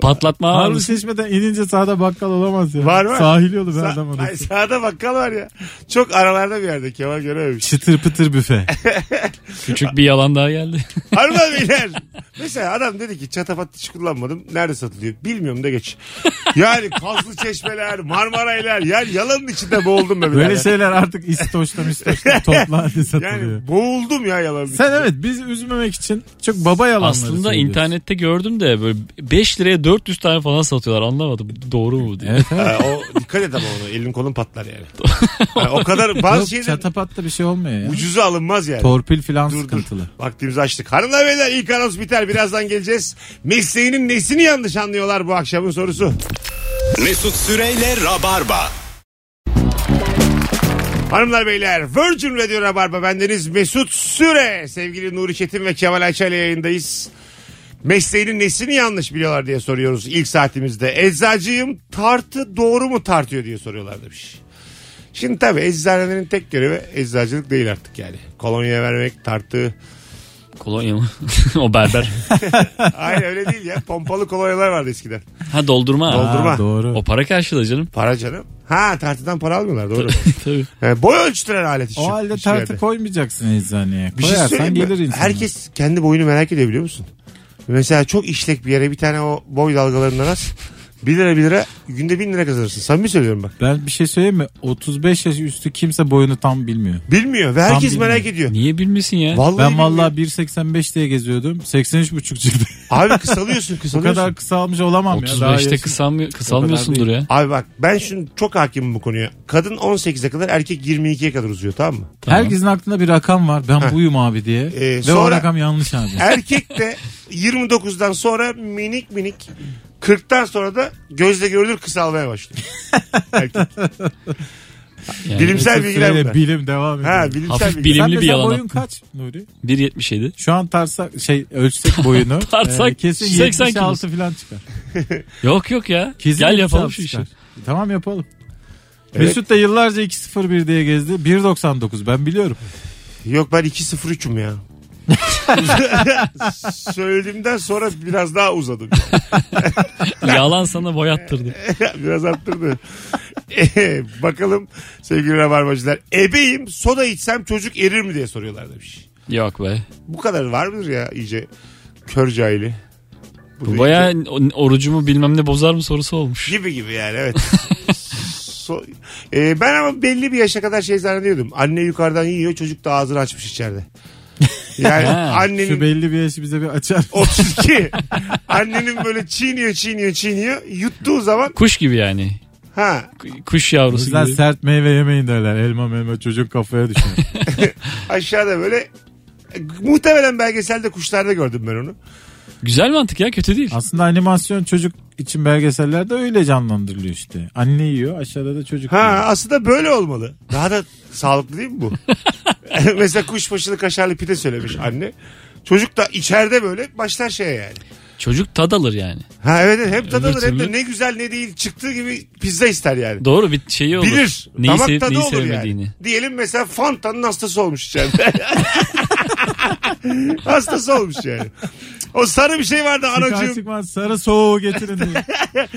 Patlatma var Harun mısın? Çeşme'den inince sağda bakkal olamaz ya. Var, var. Sahil yolu ben adam Sa- Ay, orası. sağda bakkal var ya. Çok aralarda bir yerde Kemal [LAUGHS] görememiş. Çıtır pıtır büfe. Küçük bir yalan [LAUGHS] daha geldi. Harbi beyler. Mesela adam dedi ki çatapat hiç kullanmadım. Nerede satılıyor? Bilmiyorum da geç. Yani kazlı çeşmeler, marmaraylar. Yani yalanın içinde boğuldum be. [LAUGHS] Böyle birader. şeyler artık [LAUGHS] istoşta mistoşta toplandı satılıyor. Yani boğuldum ya yalanın Sen içinde. evet biz üzmemek için çok baba yalanları Aslında söylüyorsun. internette gördüm de böyle 5 liraya 400 tane falan satıyorlar anlamadım. Doğru mu bu diye. Evet, evet. Ha, o, dikkat et ama onu. Elin kolun patlar [LAUGHS] yani. Ha, o kadar bazı Yok, şeyler çatapatta bir şey olmuyor ya. ucuza alınmaz yani. Torpil filan Dur, sıkıntılı. dur. Vaktimizi açtık. Hanımlar beyler ilk anons biter. Birazdan geleceğiz. Mesleğinin nesini yanlış anlıyorlar bu akşamın sorusu. Mesut Süreyle Rabarba. Hanımlar beyler Virgin Radio Rabarba bendeniz Mesut Süre. Sevgili Nuri Çetin ve Kemal Ayça ile yayındayız. Mesleğinin nesini yanlış biliyorlar diye soruyoruz ilk saatimizde. Eczacıyım tartı doğru mu tartıyor diye soruyorlar demiş. Şimdi tabii eczanelerin tek görevi eczacılık değil artık yani. Kolonya vermek, tartı. [LAUGHS] Kolonya mı? [LAUGHS] [LAUGHS] o berber. Hayır öyle değil ya. Pompalı kolonyalar vardı eskiden. Ha doldurma. Ha, Doldurma. doğru. O para karşılığı canım. Para canım. Ha tartıdan para almıyorlar doğru. Tabii. Yani boy ölçtüren alet işi. O halde tartı koymayacaksın eczaneye. Bir şey Koyarsan söyleyeyim mi? gelir insan. Herkes kendi boyunu merak ediyor biliyor musun? Mesela çok işlek bir yere bir tane o boy dalgalarından az. 1 lira 1 lira günde 1000 lira kazanırsın. Samimi söylüyorum bak. Ben bir şey söyleyeyim mi? 35 yaş üstü kimse boyunu tam bilmiyor. Bilmiyor ve herkes bilmiyor. merak ediyor. Niye bilmesin ya? Vallahi ben vallahi bilmiyor. 1.85 diye geziyordum. [LAUGHS] 83.5 çıktı. Abi [LAUGHS] kısalıyorsun o kısalıyorsun. kadar kısalmış olamam ya. Daha 35'te yaşım- kısalmıyor, kısalmıyorsundur ya. Abi bak ben şunu çok hakimim bu konuya. Kadın 18'e kadar erkek 22'ye kadar uzuyor tamam [LAUGHS] mı? Tamam. Herkesin aklında bir rakam var. Ben buyum abi diye. Ve o Ee, sonra- rakam [LAUGHS] yanlış abi. Erkek de 29'dan sonra minik minik 40'tan sonra da gözle görülür kısalmaya [LAUGHS] başlıyor. Erkek. Yani Bilimsel Mesut bilgiler Süreyle bunlar. bilim devam ediyor. Ha, bilimsel Hafif bilgiler. Sen Bilimli bir mesela yalan boyun attın. kaç Nuri? 1.77. Şu an tarsak şey ölçsek [LAUGHS] boyunu. Ee, Tartsak kesin 80 kilo. 76 falan çıkar. Yok yok ya. Kesin Gel 76 yapalım şu işi. çıkar. Tamam yapalım. Evet. Mesut da yıllarca 2.01 diye gezdi. 1.99 ben biliyorum. Yok ben 2.03'üm [LAUGHS] ya. Söylediğimden sonra biraz daha uzadım. [LAUGHS] [LAUGHS] Yalan sana boyattırdı. biraz arttırdı. E, Bakalım sevgili rabarbacılar. Ebeyim soda içsem çocuk erir mi diye soruyorlar demiş. Yok be. Bu kadar var mıdır ya iyice kör cahili? Bu baya orucumu bilmem ne bozar mı sorusu olmuş. Gibi gibi yani [LAUGHS] evet. So- Ee, ben ama belli bir yaşa kadar şey zannediyordum. Anne yukarıdan yiyor çocuk da ağzını açmış [LAUGHS] içeride. Yani Ha, Şu annenin belli bir yaşı bize bir açar. 32 annenin böyle çiğniyor çiğniyor çiğniyor yuttuğu zaman Kuş gibi yani. ha Ku- Kuş yavrusu Bizden gibi. sert meyve yemeyin derler. Elma melma çocuk kafaya düşer. aşağıda böyle muhtemelen belgeselde kuşlarda gördüm ben onu. Güzel mantık ya kötü değil. Aslında animasyon çocuk için belgesellerde öyle canlandırılıyor işte. Anne yiyor aşağıda da çocuk Ha yiyor. aslında böyle olmalı. Daha da sağlıklı değil mi bu? [LAUGHS] Mesela kuşbaşılı kaşarlı pide söylemiş anne. Çocuk da içeride böyle başlar şeye yani. Çocuk tad alır yani. Ha evet evet, hem Öbür tadılır hem de türlü- ne güzel ne değil çıktığı gibi pizza ister yani. Doğru bir şeyi olur. Bilir. Neyi Damak sevip tadı neyi olur sevmediğini. yani. Diyelim mesela Fanta'nın hastası olmuş içeride. [LAUGHS] hastası olmuş yani. O sarı bir şey vardı Çıkar anacığım. çıkmaz sarı soğuğu getirin diye.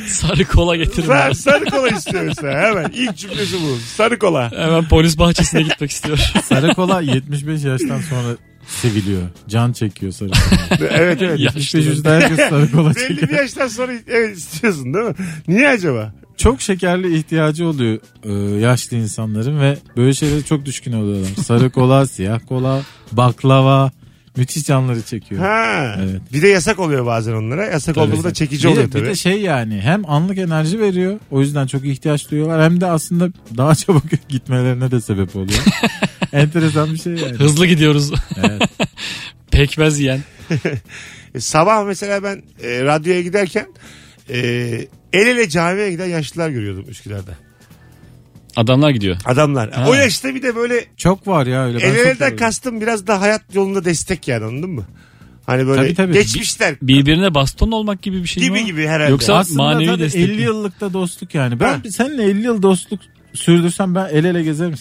Sarı kola getirin. Ver, sarı kola istiyor mesela hemen. İlk cümlesi bu. Sarı kola. Hemen polis bahçesine gitmek istiyor. Sarı kola 75 yaştan sonra seviliyor. Can çekiyor sarı kola. Evet [LAUGHS] evet. Yaşlı 75 da. yaşında herkes sarı kola Belli bir çekiyor. yaştan sonra evet, istiyorsun değil mi? Niye acaba? Çok şekerli ihtiyacı oluyor e, yaşlı insanların ve böyle şeylere çok düşkün oluyorlar. Sarı kola, [LAUGHS] siyah kola, baklava müthiş canları çekiyor. Ha. Evet. Bir de yasak oluyor bazen onlara. Yasak Tabii. olduğunda da çekici bir, de- oluyor Bir tabii. de şey yani hem anlık enerji veriyor. O yüzden çok ihtiyaç duyuyorlar. Hem de aslında daha [LAUGHS] çabuk gitmelerine de [LAUGHS] sebep oluyor. Enteresan bir şey yani. Hızlı gidiyoruz. Evet. [LAUGHS] Pekmez yiyen. E, sabah mesela ben e, radyoya giderken e, el ele camiye giden yaşlılar görüyordum Üsküdar'da. Adamlar gidiyor. Adamlar. Ha. O yaşta bir de böyle Çok var ya öyle. Ben El çok elden görüyorum. E, kastım biraz da hayat yolunda destek yani anladın mı? Hani böyle Tabii, tabii. geçmişler Birbirine baston olmak gibi bir şey mi? gibi o? gibi herhalde. Yoksa- Aslında Manevi tabii destek 50 mi? yıllıkta dostluk yani. Ben Ha. seninle 50 yıl dostluk sürdürsem ben el ele gezerim.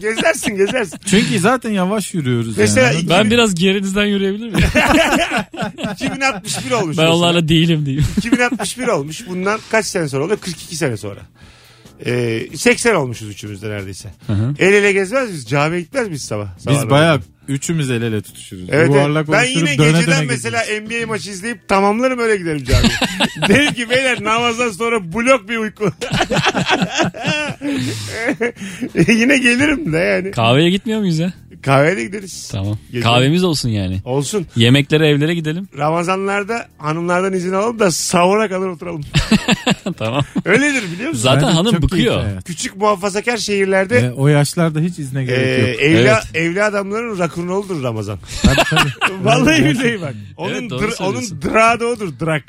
gezersin [LAUGHS] gezersin. Çünkü zaten yavaş yürüyoruz. Mesela yani. iki- Ben biraz gerinizden yürüyebilir [LAUGHS] miyim? 2061 olmuş. ben mesela. onlarla değilim diyeyim. [LAUGHS] 2061 olmuş. Bundan kaç sene sonra oluyor? 42 sene sonra. Ee, 80 olmuşuz üçümüzde neredeyse. hı. El ele gezmez miyiz? Camiye gitmez miyiz sabah? Biz Sabah bayağı üçümüz el ele tutuşuruz. Evet, evet. Duvarla Ben konuşurup yine döne geceden döne mesela NBA maçı izleyip tamamlarım öyle giderim [LAUGHS] camiye. Derim ki beyler namazdan sonra blok bir uyku. [LAUGHS] yine gelirim de yani. Kahveye gitmiyor muyuz ya? Kahvede gideriz. Tamam. Gezelim. Kahvemiz olsun yani. Olsun. Yemeklere evlere gidelim. [LAUGHS] Ramazanlarda hanımlardan izin alalım da sahura kadar oturalım. tamam. Öyledir biliyor musun? Zaten Bence hanım çok bıkıyor. keyifli hayat. Küçük muhafazakar şehirlerde Ve o yaşlarda hiç izne e, gerek yok. evli, Evet. evli adamların rock'n'roll'dur Ramazan. Tabii, [LAUGHS] tabii. Vallahi billahi bak. Onun, Evet, doğru dra- söylüyorsun. onun drağı da odur drak.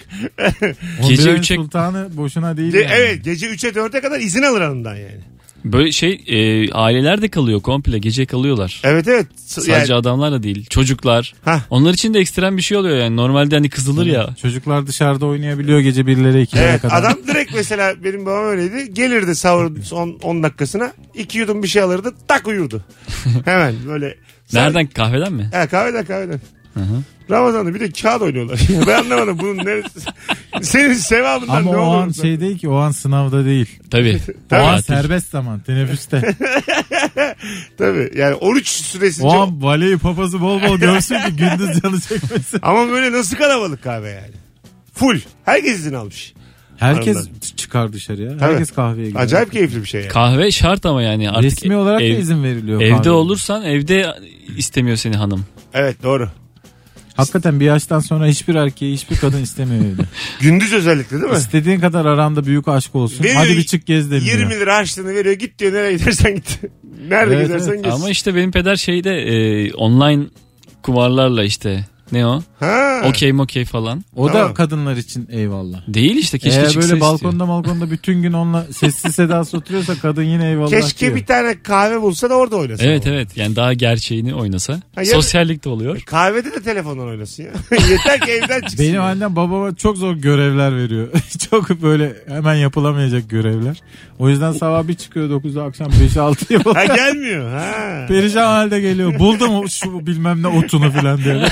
O Gece Bilal'in üçe- sultanı boşuna değil. Ge- yani. Evet gece 3'e 4'e kadar izin alır hanımdan yani. Böyle şey e, aileler de kalıyor komple gece kalıyorlar. Evet evet. S- Sadece yani- adamlar da değil çocuklar. Hah. Onlar için de ekstrem bir şey oluyor yani. Normalde hani kızılır ya. Çocuklar dışarıda oynayabiliyor gece birlere ikilere Evet kadar. adam direkt mesela benim babam öyleydi. Gelirdi sahurun son 10 dakikasına. iki yudum bir şey alırdı tak [LAUGHS] uyurdu. Hemen böyle. Nereden kahveden mi? He kahveden kahveden. Ramazan'da bir de kağıt oynuyorlar. [LAUGHS] ben anlamadım bunun neresi. Senin sevabından Ama ne o an olur? şey değil ki o an sınavda değil. [LAUGHS] Tabii. O an Tatil. serbest zaman teneffüste. Tabii yani oruç süresince. o an valeyi papazı bol bol görsün ki gündüz canı çekmesin. Ama böyle nasıl kalabalık kahve yani. Full. Herkes izin almış. Herkes Anladım. çıkar dışarıya. Tabii. Herkes kahveye gidiyor. Acayip keyifli bir şey yani. Kahve şart ama yani artık Resmi olarak ev- da izin veriliyor. evde kahveye. olursan evde istemiyor seni hanım. Evet doğru. Hakikaten bir yaştan sonra hiçbir erkeği hiçbir kadın istemiyor [LAUGHS] evde. Gündüz özellikle değil mi? İstediğin kadar aranda büyük aşk olsun. Veriyor- Hadi bir çık gez demiyor. 20 lira harçlığını veriyor git diyor nereye gidersen git. [LAUGHS] Nerede Evet, gidersen evet. git. Ama işte benim peder şeyde e, online kumarlarla işte ne o? Ha. Okey mokey falan. O Tamam. da kadınlar için eyvallah. Değil işte keşke Eğer çıksa böyle istiyor. balkonda balkonda bütün gün onunla sessiz sedasız oturuyorsa kadın yine eyvallah Keşke diyor. bir tane kahve bulsa da orada oynasın. Evet ama. evet yani daha gerçeğini oynasa. Ha, ya- Sosyallik de oluyor. Kahvede de telefondan oynasın ya. [LAUGHS] Yeter ki evden çıksın. Benim ya. annem babama çok zor görevler veriyor. [LAUGHS] çok böyle hemen yapılamayacak görevler. O yüzden sabah bir çıkıyor 9'da akşam 5'e 6'ya Ha falan. gelmiyor. Ha. Perişan halde geliyor. Buldum o- şu bilmem ne otunu filan diye.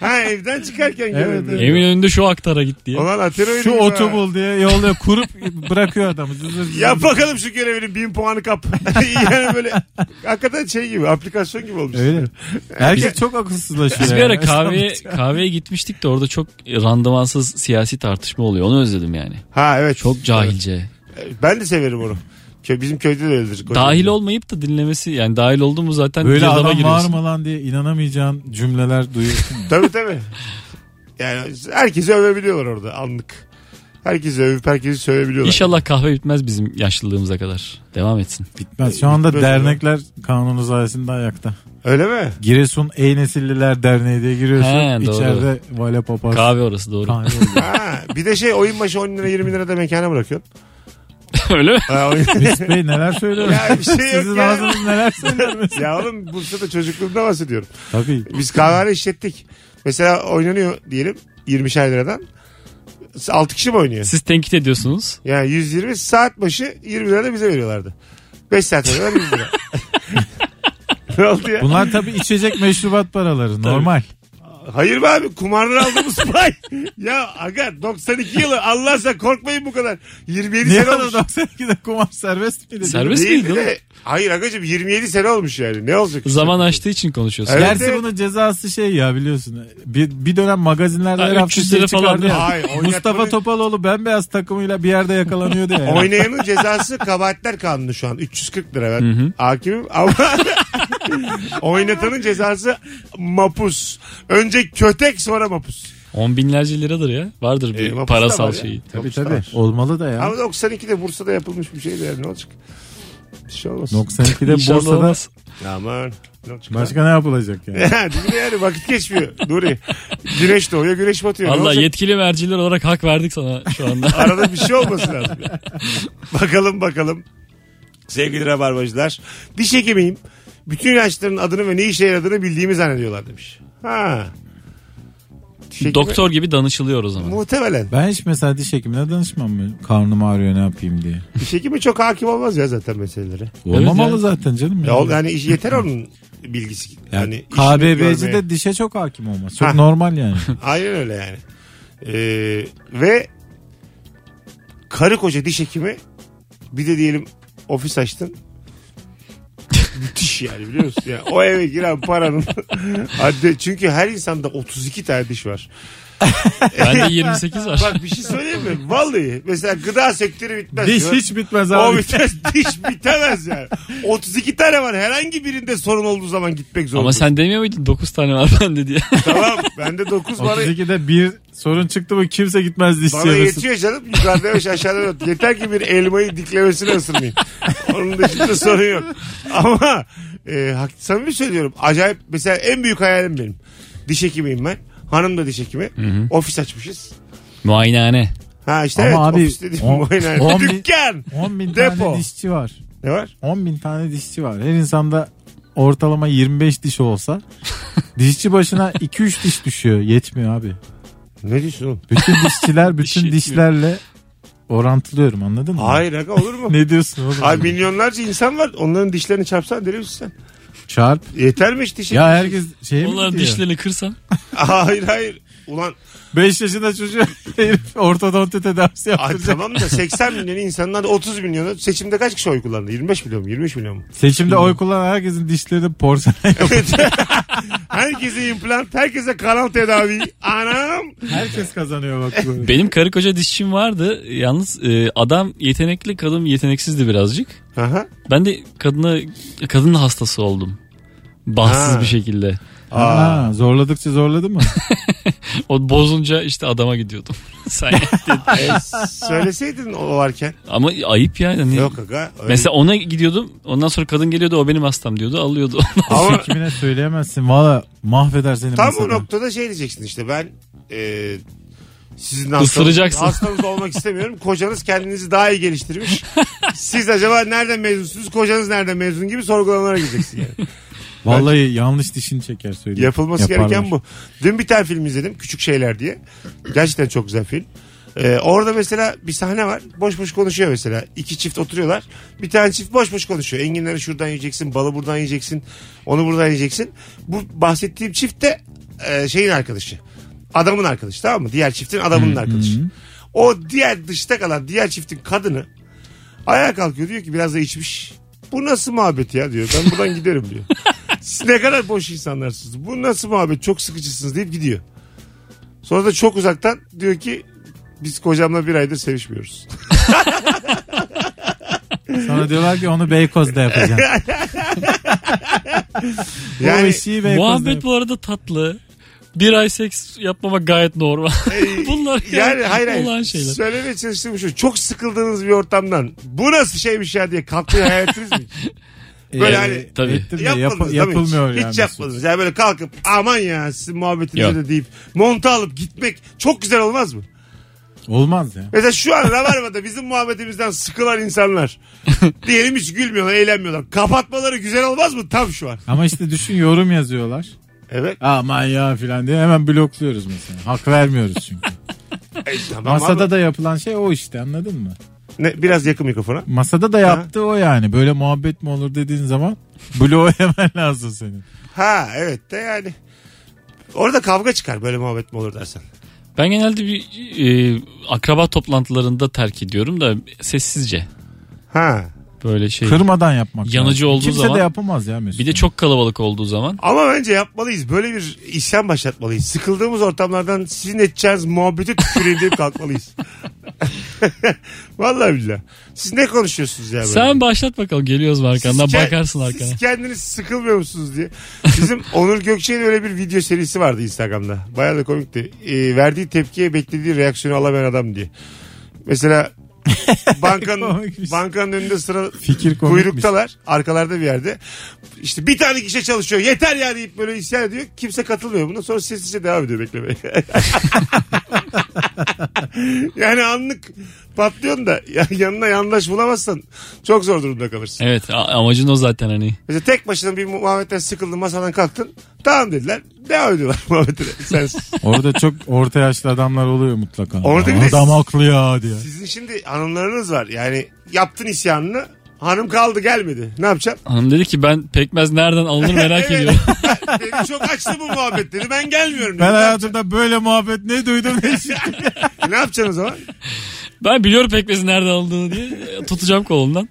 ha evden çıkarken Evet, gördüm. evet. Emin önünde şu aktara git diye. Olan ateroid. Şu otobul diye yolda kurup bırakıyor adamı. Zır zır zır. Yap bakalım şu görevini bin puanı kap. [LAUGHS] yani böyle hakikaten şey gibi aplikasyon gibi olmuş. Öyle. Herkes Biz- çok akılsızlaşıyor. Biz bir yani. [LAUGHS] ara kahveye, kahveye gitmiştik de orada çok randımansız siyasi tartışma oluyor. Onu özledim yani. Ha evet. Çok cahilce. Ben de severim onu. Kö- Bizim köyde de öyledir. Kocaeli. Dahil olmayıp da dinlemesi yani dahil oldu mu zaten Böyle girdaba adam giriyorsun. bağırma lan diye inanamayacağın cümleler duyuyorsun. Tabii tabii. Yani herkesi övebiliyorlar orada anlık. Herkesi övüp herkesi sövebiliyorlar. İnşallah kahve bitmez bizim yaşlılığımıza kadar. Devam etsin. Bitmez. Şu anda Bitmez dernekler kanunu sayesinde ayakta. Öyle mi? Giresun Eynesilliler Derneği diye giriyorsun. He, doğru. İçeride vale papaz. Kahve orası doğru. Kahve oluyor. Ha, bir de şey oyun başı 10 lira 20 lira da mekana bırakıyorsun. [LAUGHS] Öyle mi? Ha, [LAUGHS] oyun... Mesut Bey neler söylüyor? ya bir şey Sizin yok ya. ağzınız neler söyler mesela. Ya oğlum Bursa'da çocukluğumda bahsediyorum. Tabii. şey Biz kahvehane işlettik. Mesela oynanıyor diyelim 20'şer liradan. 6 kişi mi oynuyor? Siz tenkit ediyorsunuz. Yani 120 saat başı 20 lira da bize veriyorlardı. 5 saat oynuyorlar 100 lira. ne oldu ya? Bunlar tabii içecek meşrubat paraları normal. Hayır be abi kumardan [LAUGHS] aldığımız pay. ya aga 92 yılı Allah sen korkmayın bu kadar. 27 Niye sene bana olmuş. 92'de kumar serbest miydi? Serbest Değil miydi? de- oğlum? Hayır agacım 27 sene olmuş yani ne olacak? Zaman açtığı için konuşuyorsun. Evet. Gerçi bunun cezası şey ya biliyorsun. Bir, bir dönem magazinlerde Ha, her hafta 300 şey lira falan çıkardı değil ya. mi? Hayır, oynatmanın- Mustafa Topaloğlu bembeyaz takımıyla bir yerde [LAUGHS] yakalanıyordu ya. Oynayanın cezası kabahatler kanunu şu an 340 lira ben hakimim ama [LAUGHS] oynatanın cezası mapus. Önce kötek sonra mapus. On binlerce liradır ya. Vardır bir E, mapus da parasal var ya. şeyi. Tabii Mapus da tabii. var. Olmalı da ya. Ama 92'de Bursa'da yapılmış bir şeydi yani ne olacak? Bir şey olmaz. 92'de İnşallah Bursa'da olmaz. Aman. Ne olacak? başka ne yapılacak [LAUGHS] yani? Ya değil mi yani vakit geçmiyor. Nuri. Güneş doğuyor, güneş batıyor. Ne Allah olacak? yetkili merciler olarak hak verdik sana şu [LAUGHS] anda. Arada bir şey olması lazım. bakalım bakalım. Sevgili rabarbacılar. Diş hekimiyim. Bütün ilaçların adını ve ne işe yaradığını bildiğimi zannediyorlar demiş. Ha. Diş hekimi- Doktor gibi danışılıyor o zaman. Muhtemelen. Ben hiç mesela diş hekimine danışmam mı? Karnım ağrıyor ne yapayım diye. Diş hekimi çok hakim olmaz ya zaten meselelere. Olmamalı yani. zaten canım. Ya o- yani iş- yeter onun bilgisi. Yani, Yani işini görmeye. KBB'cide dişe çok hakim olmaz. Çok Ha. [LAUGHS] normal yani. Aynen öyle yani. Ee, ve karı koca diş hekimi bir de diyelim ofis açtın. [LAUGHS] Müthiş yani biliyor musun? Yani o eve giren paranın [LAUGHS] haddi. Çünkü her insanda 32 tane diş var. Bende 28 var. Bak bir şey söyleyeyim mi? Vallahi mesela gıda sektörü bitmez. diş Ya. hiç bitmez o abi. bitmez, diş bitemez yani. 32 tane var. Herhangi birinde sorun olduğu zaman gitmek zorunda. Ama sen demiyor muydun 9 tane var bende diye. Tamam bende 9 var. 32'de bir sorun çıktı mı kimse gitmez diş Bana [LAUGHS] çevresi. yetiyor canım. Yukarıda yavaş aşağıda yok. Yeter ki bir elmayı diklemesine ısırmayayım. Onun dışında sorun yok. Ama e, hak, samimi söylüyorum. Acayip mesela en büyük hayalim benim. Diş hekimiyim ben. Hanım da diş hekimi. Ofis açmışız. Muayenehane. Ha işte Ama evet abi, ofis dediğim on- muayene. on bin- Dükkan. 10 bin Depo. tane dişçi var. Ne var? 10 bin tane dişçi var. Her insanda ortalama 25 diş olsa [LAUGHS] dişçi başına 2-3 diş düşüyor. Yetmiyor abi. Ne diyorsun oğlum? [LAUGHS] Bütün dişçiler bütün yetmiyor. dişlerle orantılıyorum anladın mı? Hayır aga olur mu? Ne diyorsun oğlum? Ay milyonlarca insan var. Onların dişlerini çarpsan deli misin sen? Çarp. Yetermiş diş hekimi. Ya herkes şey mi Onlar diyor? dişlerini kırsan. [LAUGHS] Hayır hayır. Ulan 5 yaşında çocuğu [LAUGHS] herif ortodonti tedavisi ay, yaptıracak. tamam da 80 milyon insandan da 30 milyonu seçimde kaç kişi oy kullandı? 25 milyon mu? 23 milyon mu? Seçimde oy kullanan herkesin dişleri de porselen [LAUGHS] yok. Herkese implant, herkese kanal tedavi. Anam. Herkes kazanıyor bak böyle. Benim karı koca dişçim vardı. Yalnız e, adam yetenekli, kadın yeteneksizdi birazcık. Aha. Ben de kadına kadının hastası oldum. Bahtsız Ha. bir şekilde. Aa, zorladıkça zorladı mı? O bozunca işte adama gidiyordum. [LAUGHS] [LAUGHS] Sen E, söyleseydin o varken. Ama ayıp yani. Hani Yok aga. öyle- Mesela ona gidiyordum. Ondan sonra kadın geliyordu. O benim hastam diyordu. Alıyordu. [LAUGHS] [LAUGHS] Ama Kimine söyleyemezsin. Valla mahveder seni tam mesela. o noktada şey diyeceksin işte ben e, sizin hastanız, Isıracaksın. hastanız olmak istemiyorum. Kocanız kendinizi daha iyi geliştirmiş. Siz acaba nereden mezunsunuz? Kocanız nereden mezun gibi sorgulamalara gideceksin yani. Vallahi yanlış dişini çeker söyleyeyim. Yapılması Yaparlar. gereken bu. Dün bir tane film izledim. Küçük Şeyler diye. Gerçekten çok güzel film. Ee, orada mesela bir sahne var. Boş boş konuşuyor mesela. İki çift oturuyorlar. Bir tane çift boş boş konuşuyor. Enginleri şuradan yiyeceksin. Balı buradan yiyeceksin. Onu buradan yiyeceksin. Bu bahsettiğim çift de e, şeyin arkadaşı. Adamın arkadaşı tamam mı? Diğer çiftin adamının arkadaşı. O diğer dışta kalan diğer çiftin kadını ayağa kalkıyor diyor ki biraz da içmiş. Bu nasıl muhabbet ya diyor. Ben buradan giderim diyor. Siz ne kadar boş insanlarsınız. Bu nasıl muhabbet çok sıkıcısınız deyip gidiyor. Sonra da çok uzaktan diyor ki biz kocamla bir aydır sevişmiyoruz. Sana diyorlar ki onu Beykoz'da yapacaksın. [LAUGHS] o Yani işi Beykoz'da Muhabbet yapacaksın. bu arada tatlı. Bir ay seks yapmamak gayet normal. [LAUGHS] Bunlar yani hayır hayır. olan şeyler. Söylemeye çalıştığım şu. Çok sıkıldığınız bir ortamdan bu nasıl şeymiş ya diye kalkmayı hayal ettiniz mi? Böyle Ee, hani Tabii. ettim de Yapmadınız yap- değil mi yapılmıyor hiç? yani. Hiç yapmadınız. Yani böyle kalkıp aman ya sizin muhabbetinize Yok. de deyip monta alıp gitmek çok güzel olmaz mı? Olmaz ya. Mesela şu an Rabarba'da bizim muhabbetimizden sıkılan insanlar diyelim hiç gülmüyorlar, eğlenmiyorlar. Kapatmaları güzel olmaz mı tam şu an? Ama işte düşün yorum yazıyorlar. Evet. Aman ya filan diye hemen blokluyoruz mesela. Hak vermiyoruz çünkü. E, tamam Masada abi. da yapılan şey o işte anladın mı? Ne, biraz yakın mikrofona. Masada da yaptığı o yani. Böyle muhabbet mi olur dediğin zaman [LAUGHS] bloğa hemen lazım senin. Ha evet de yani. Orada kavga çıkar böyle muhabbet mi olur dersen. Ben genelde bir e, akraba toplantılarında terk ediyorum da sessizce. Ha. Böyle şey. Kırmadan yapmak. Yanıcı lazım. olduğu Kimse zaman- de yapamaz ya Mesut. Bir de çok kalabalık olduğu zaman. Ama bence yapmalıyız. Böyle bir isyan başlatmalıyız. Sıkıldığımız ortamlardan sizin edeceğiniz muhabbeti tüküreyim deyip kalkmalıyız. [LAUGHS] Vallahi billah. Siz ne konuşuyorsunuz ya böyle? Sen başlat bakalım geliyoruz mu Siz arkandan ke- bakarsın arkana. Siz kendiniz sıkılmıyor musunuz diye. Bizim [LAUGHS] Onur Gökçe'nin öyle bir video serisi vardı Instagram'da. Bayağı da komikti. Ee, verdiği tepkiye beklediği reaksiyonu alamayan adam diye. Mesela [LAUGHS] bankanın, Komikmiş. bankanın önünde sıra Fikir komikmiş. kuyruktalar. Arkalarda bir yerde. İşte bir tane kişi çalışıyor. Yeter ya deyip böyle isyan ediyor. Kimse katılmıyor. Bundan sonra sessizce devam ediyor [LAUGHS] beklemeye. [LAUGHS] yani anlık patlıyorsun da ya- yanına yandaş bulamazsan çok zor durumda kalırsın. Evet a- amacın o zaten hani. Mesela tek başına bir muhabbetten sıkıldın masadan kalktın. Tamam dediler. Devam ediyorlar [LAUGHS] muhabbetine. Sensiz. Orada çok orta yaşlı adamlar oluyor mutlaka. Orada Ya bir de- Adam haklı ya diye. Sizin şimdi hanımlarınız var. Yani yaptın isyanını. Hanım kaldı gelmedi. Ne yapacağım? Hanım dedi ki ben pekmez nereden alınır [LAUGHS] Evet. merak ediyorum. [LAUGHS] Beni çok açtı bu muhabbet dedi. Ben gelmiyorum dedi. Ben hayatımda böyle muhabbet ne duydum [LAUGHS] ne işittim. Ne yapacaksın o zaman? Ben biliyorum pekmezin nereden alındığını diye e, tutacağım kolundan.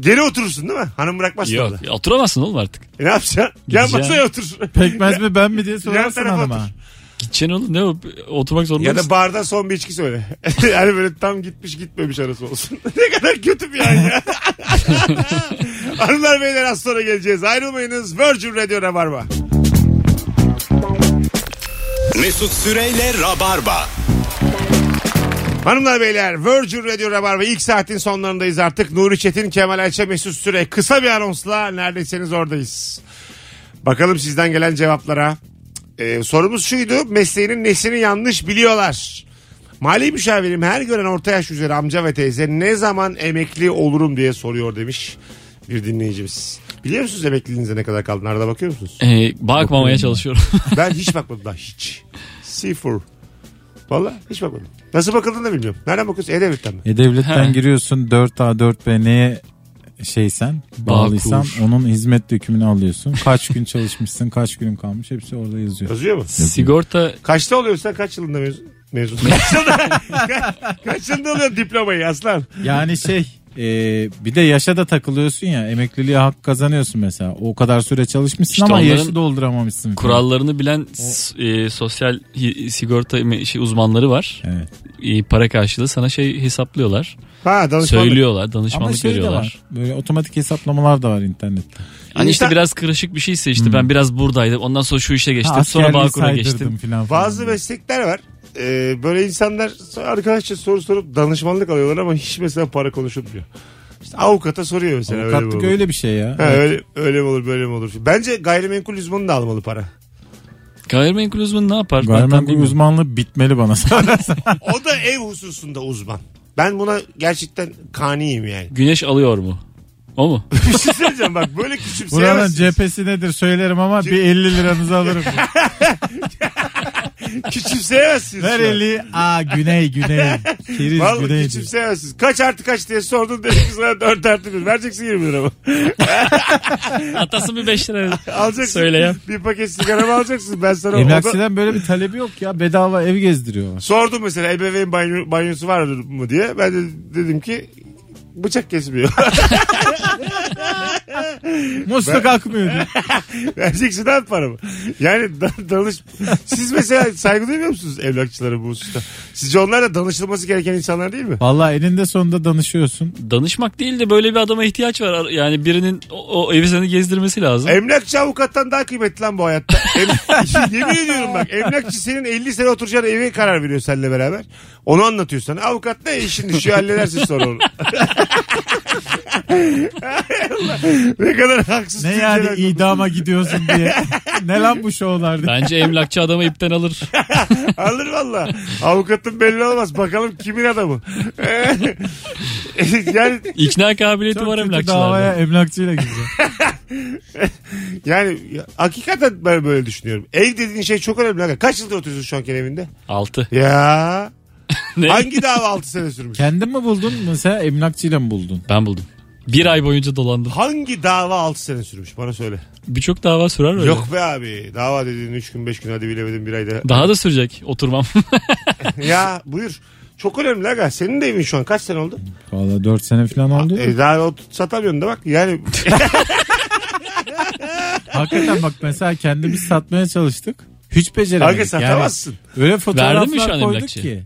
Geri oturursun değil mi? Hanım bırakmaz Yok orada. oturamazsın oğlum artık. E ne yapacaksın? Gel Gideceğim. masaya otur. Pekmez mi ben mi diye Yan sorarsın tarafa hanıma. otur. Gideceksin oğlum ne o oturmak zorunda Ya mısın? da barda son bir içki söyle. [LAUGHS] yani böyle tam gitmiş gitmemiş arası olsun. [LAUGHS] ne kadar kötü bir an ya. [LAUGHS] Hanımlar beyler az sonra geleceğiz. Ayrılmayınız. Virgin Radio Rabarba. Mesut Süreyle Rabarba. Hanımlar beyler Virgin Radio Rabarba ilk saatin sonlarındayız artık. Nuri Çetin, Kemal Ayça, Mesut Süre kısa bir anonsla neredeyseniz oradayız. Bakalım sizden gelen cevaplara. Ee, sorumuz şuydu mesleğinin nesini yanlış biliyorlar. Mali müşavirim her gören orta yaş üzeri amca ve teyze ne zaman emekli olurum diye soruyor demiş bir dinleyicimiz. Biliyor musunuz emekliliğinize ne kadar kaldı? Nerede bakıyor [LAUGHS] musunuz? E, bakmamaya çalışıyorum. Ben hiç bakmadım daha hiç. Sıfır. Valla hiç bakmadım. Nasıl bakıldığını da bilmiyorum. Nereden bakıyorsun? E-Devlet'ten mi? E devletten He. giriyorsun 4A 4B neye şeysen bağlıysan Bağkur. onun hizmet dökümünü alıyorsun. Kaç gün çalışmışsın kaç günün kalmış hepsi orada yazıyor. Yazıyor mu? [LAUGHS] Sigorta Kaçta oluyorsa kaç yılında mezun? Mezun. Kaç yılında, ka- kaç yılında oluyor diplomayı aslan? Yani şey e, bir de yaşa da takılıyorsun ya emekliliğe hak kazanıyorsun mesela. O kadar süre çalışmışsın İşte ama onların yaşı dolduramamışsın. kurallarını bilen s- e, sosyal hi- sigorta me- şey, uzmanları var. Evet. E, para karşılığı sana şey hesaplıyorlar. Ha danışmanlık. Söylüyorlar, Ama danışmanlık şey de veriyorlar. var. Böyle otomatik hesaplamalar da var internette. Hani işte İnsan- biraz karışık bir şeyse işte ben biraz buradaydım. Ondan sonra şu işe geçtim. Hmm. Ha, sonra askerliği Bağkur'a saydırdım geçtim. Falan falan Bazı meslekler var. Ee, böyle insanlar arkadaşça soru sorup danışmanlık alıyorlar ama hiç mesela para konuşulmuyor. İşte avukata soruyor mesela. öyle mi Avukatlık olur? öyle bir şey ya. Ha, öyle, öyle mi olur böyle mi olur? Bence gayrimenkul uzmanı da almalı para. Gayrimenkul uzmanı ne yapar? Ben tam Gayrimenkul bilmiyorum. uzmanlığı bitmeli bana. O da ev hususunda uzman. Ben buna gerçekten kaniyim [LAUGHS] yani. Güneş alıyor mu? [LAUGHS] O mu? Bir şey söyleyeceğim bak böyle Buranın küçümseyemezsiniz. cephesi nedir söylerim ama bir 50 liranızı alırım. küçümseyemezsiniz. Ver şu an. eli. Aa güney güney. Keriz şey Vallahi şey güney. küçümseyemezsiniz. Kaç artı kaç diye sordun dedim ki sana 4 artı 1. Vereceksin 20 lira [LAUGHS] mı? Atası bir [LAUGHS] 5 lira. Alacaksın. Söyle ya. Bir paket sigara mı alacaksın? Ben sana oda- Emlakçıdan böyle bir talebi yok ya. Bedava ev gezdiriyorlar. Sordum mesela ebeveyn banyo, banyosu var mı diye. Ben de dedim ki bıçak kesmiyor. [LAUGHS] Musluk akmıyor diyor. Vereceksin abi paramı. Yani da- danış... Siz mesela saygı duymuyor musunuz evlakçılara bu hususta? Sizce onlar da danışılması gereken insanlar değil mi? Valla eninde sonunda danışıyorsun. Danışmak değil de böyle bir adama ihtiyaç var. Yani birinin o, o evi seni gezdirmesi lazım. Emlakçı avukattan daha kıymetli lan bu hayatta. [LAUGHS] Em- Yemin ediyorum bak emlakçı senin 50 sene oturacağın eve karar veriyor seninle beraber. Onu anlatıyor sana. Avukat ne işin [LAUGHS] düşüyor halledersin sonra onu. [LAUGHS] ne kadar haksız. Ne Türkiye'den yani konuşuyoruz. idama gidiyorsun diye. ne lan bu şovlar diye. Bence emlakçı adamı ipten alır. Alır valla. Avukatın belli olmaz. Bakalım kimin adamı. [LAUGHS] yani İkna kabiliyeti Çok var kötü emlakçılarda. davaya emlakçıyla gideceğim. yani ya- hakikaten ben böyle düşünüyorum. Ev dediğin şey çok önemli. Hakikaten. Kaç yıldır oturuyorsun şu anki evinde? 6. Ya. Ne? Hangi dava 6 sene sürmüş? Kendin mi buldun mesela emlakçıyla mı buldun? Ben buldum. Bir ay boyunca dolandım. Hangi dava 6 sene sürmüş? Bana söyle. Birçok dava sürer öyle. Yok be abi. Dava dediğin 3 gün 5 gün hadi bilemedin bir ayda. Daha da sürecek oturmam. Şey ya buyur. Çok önemli aga. Senin de evin şu an kaç sene oldu? Valla 4 sene falan oldu. E, daha o satamıyorsun da bak. Yani Hakikaten bak mesela kendimiz satmaya çalıştık. Hiç beceremedik. aga satamazsın. Yani öyle Verdi mi şu fotoğraflar an koyduk emlakçı? ki.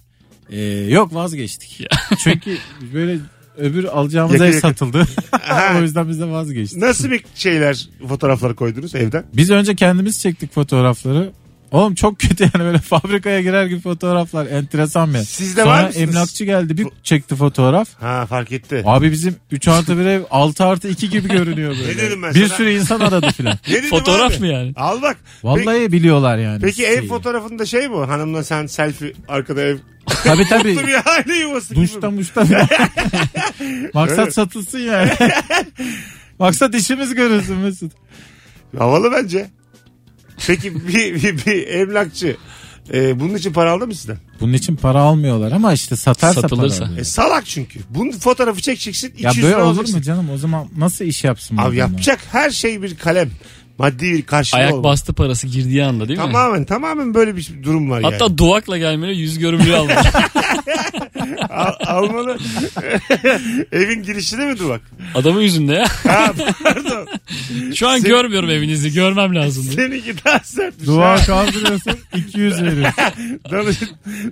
Ee, yok vazgeçtik. [LAUGHS] Çünkü böyle öbür alacağımız Yakın ev yakın. [LAUGHS] satıldı. o yüzden biz de vazgeçtik. Nasıl bir şeyler fotoğraflar koydunuz evden? Biz önce kendimiz çektik fotoğrafları. Oğlum çok kötü yani böyle fabrikaya girer gibi fotoğraflar. Enteresan bir. Siz de Sonra var mısınız? emlakçı geldi bir çekti fotoğraf. Ha fark etti. Abi bizim 3 artı 1 ev 6 artı 2 gibi görünüyor böyle. Ne dedim ben bir sana? sürü insan aradı [LAUGHS] filan. Ne dedim Fotoğraf abi? mı yani? Al bak. Vallahi biliyorlar yani. Peki, peki şeyi. ev fotoğrafında şey mi? Hanımla sen selfie arkada ev. Tabii tabii. Mutlu bir aile yuvası gibi. Şey- [LAUGHS] Duşta muşta filan. Maksat Öyle. satılsın yani. [LAUGHS] Maksat işimiz görülsün Mesut. Havalı bence. Peki bir, bir, bir emlakçı e, bunun için para aldı mı sizden? Bunun için para almıyorlar ama işte satarsa Satılırsa. para alıyor. E, salak çünkü. Bunun fotoğrafı çekeceksin 200 Ya böyle lira olur alacaksın. mu canım? O zaman nasıl iş yapsın? bu Abi adamlar? yapacak her şey bir kalem. Maddi bir karşılığı [LAUGHS] Ayak olmalı. bastı parası girdiği anda değil mi? Tamamen tamamen böyle bir durum var Hatta yani. duvakla gelmeli yüz görümlü [LAUGHS] almalı. Al, almalı. [LAUGHS] Evin girişine mi duvak? Adamın yüzünde ya. Ha, pardon. Şu an Sen- görmüyorum evinizi. Görmem lazım. Seninki daha sertmiş. Dua Ha. kaldırıyorsun 200 veriyorsun. Danış,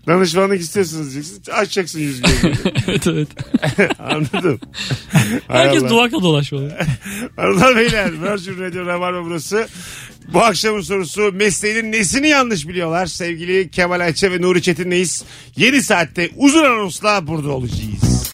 danışmanlık istiyorsunuz diyeceksin. Açacaksın yüz [LAUGHS] gözünü. [LAUGHS] evet evet. Anladım. Hay Herkes Allah. duvakla dolaşmalı. Hanımlar beyler Virgin Radio Rabarba burası. Bu akşamın sorusu mesleğinin nesini yanlış biliyorlar? Sevgili Kemal Ayça ve Nuri Çetin'leyiz. Yeni saatte uzun anonsla burada olacağız.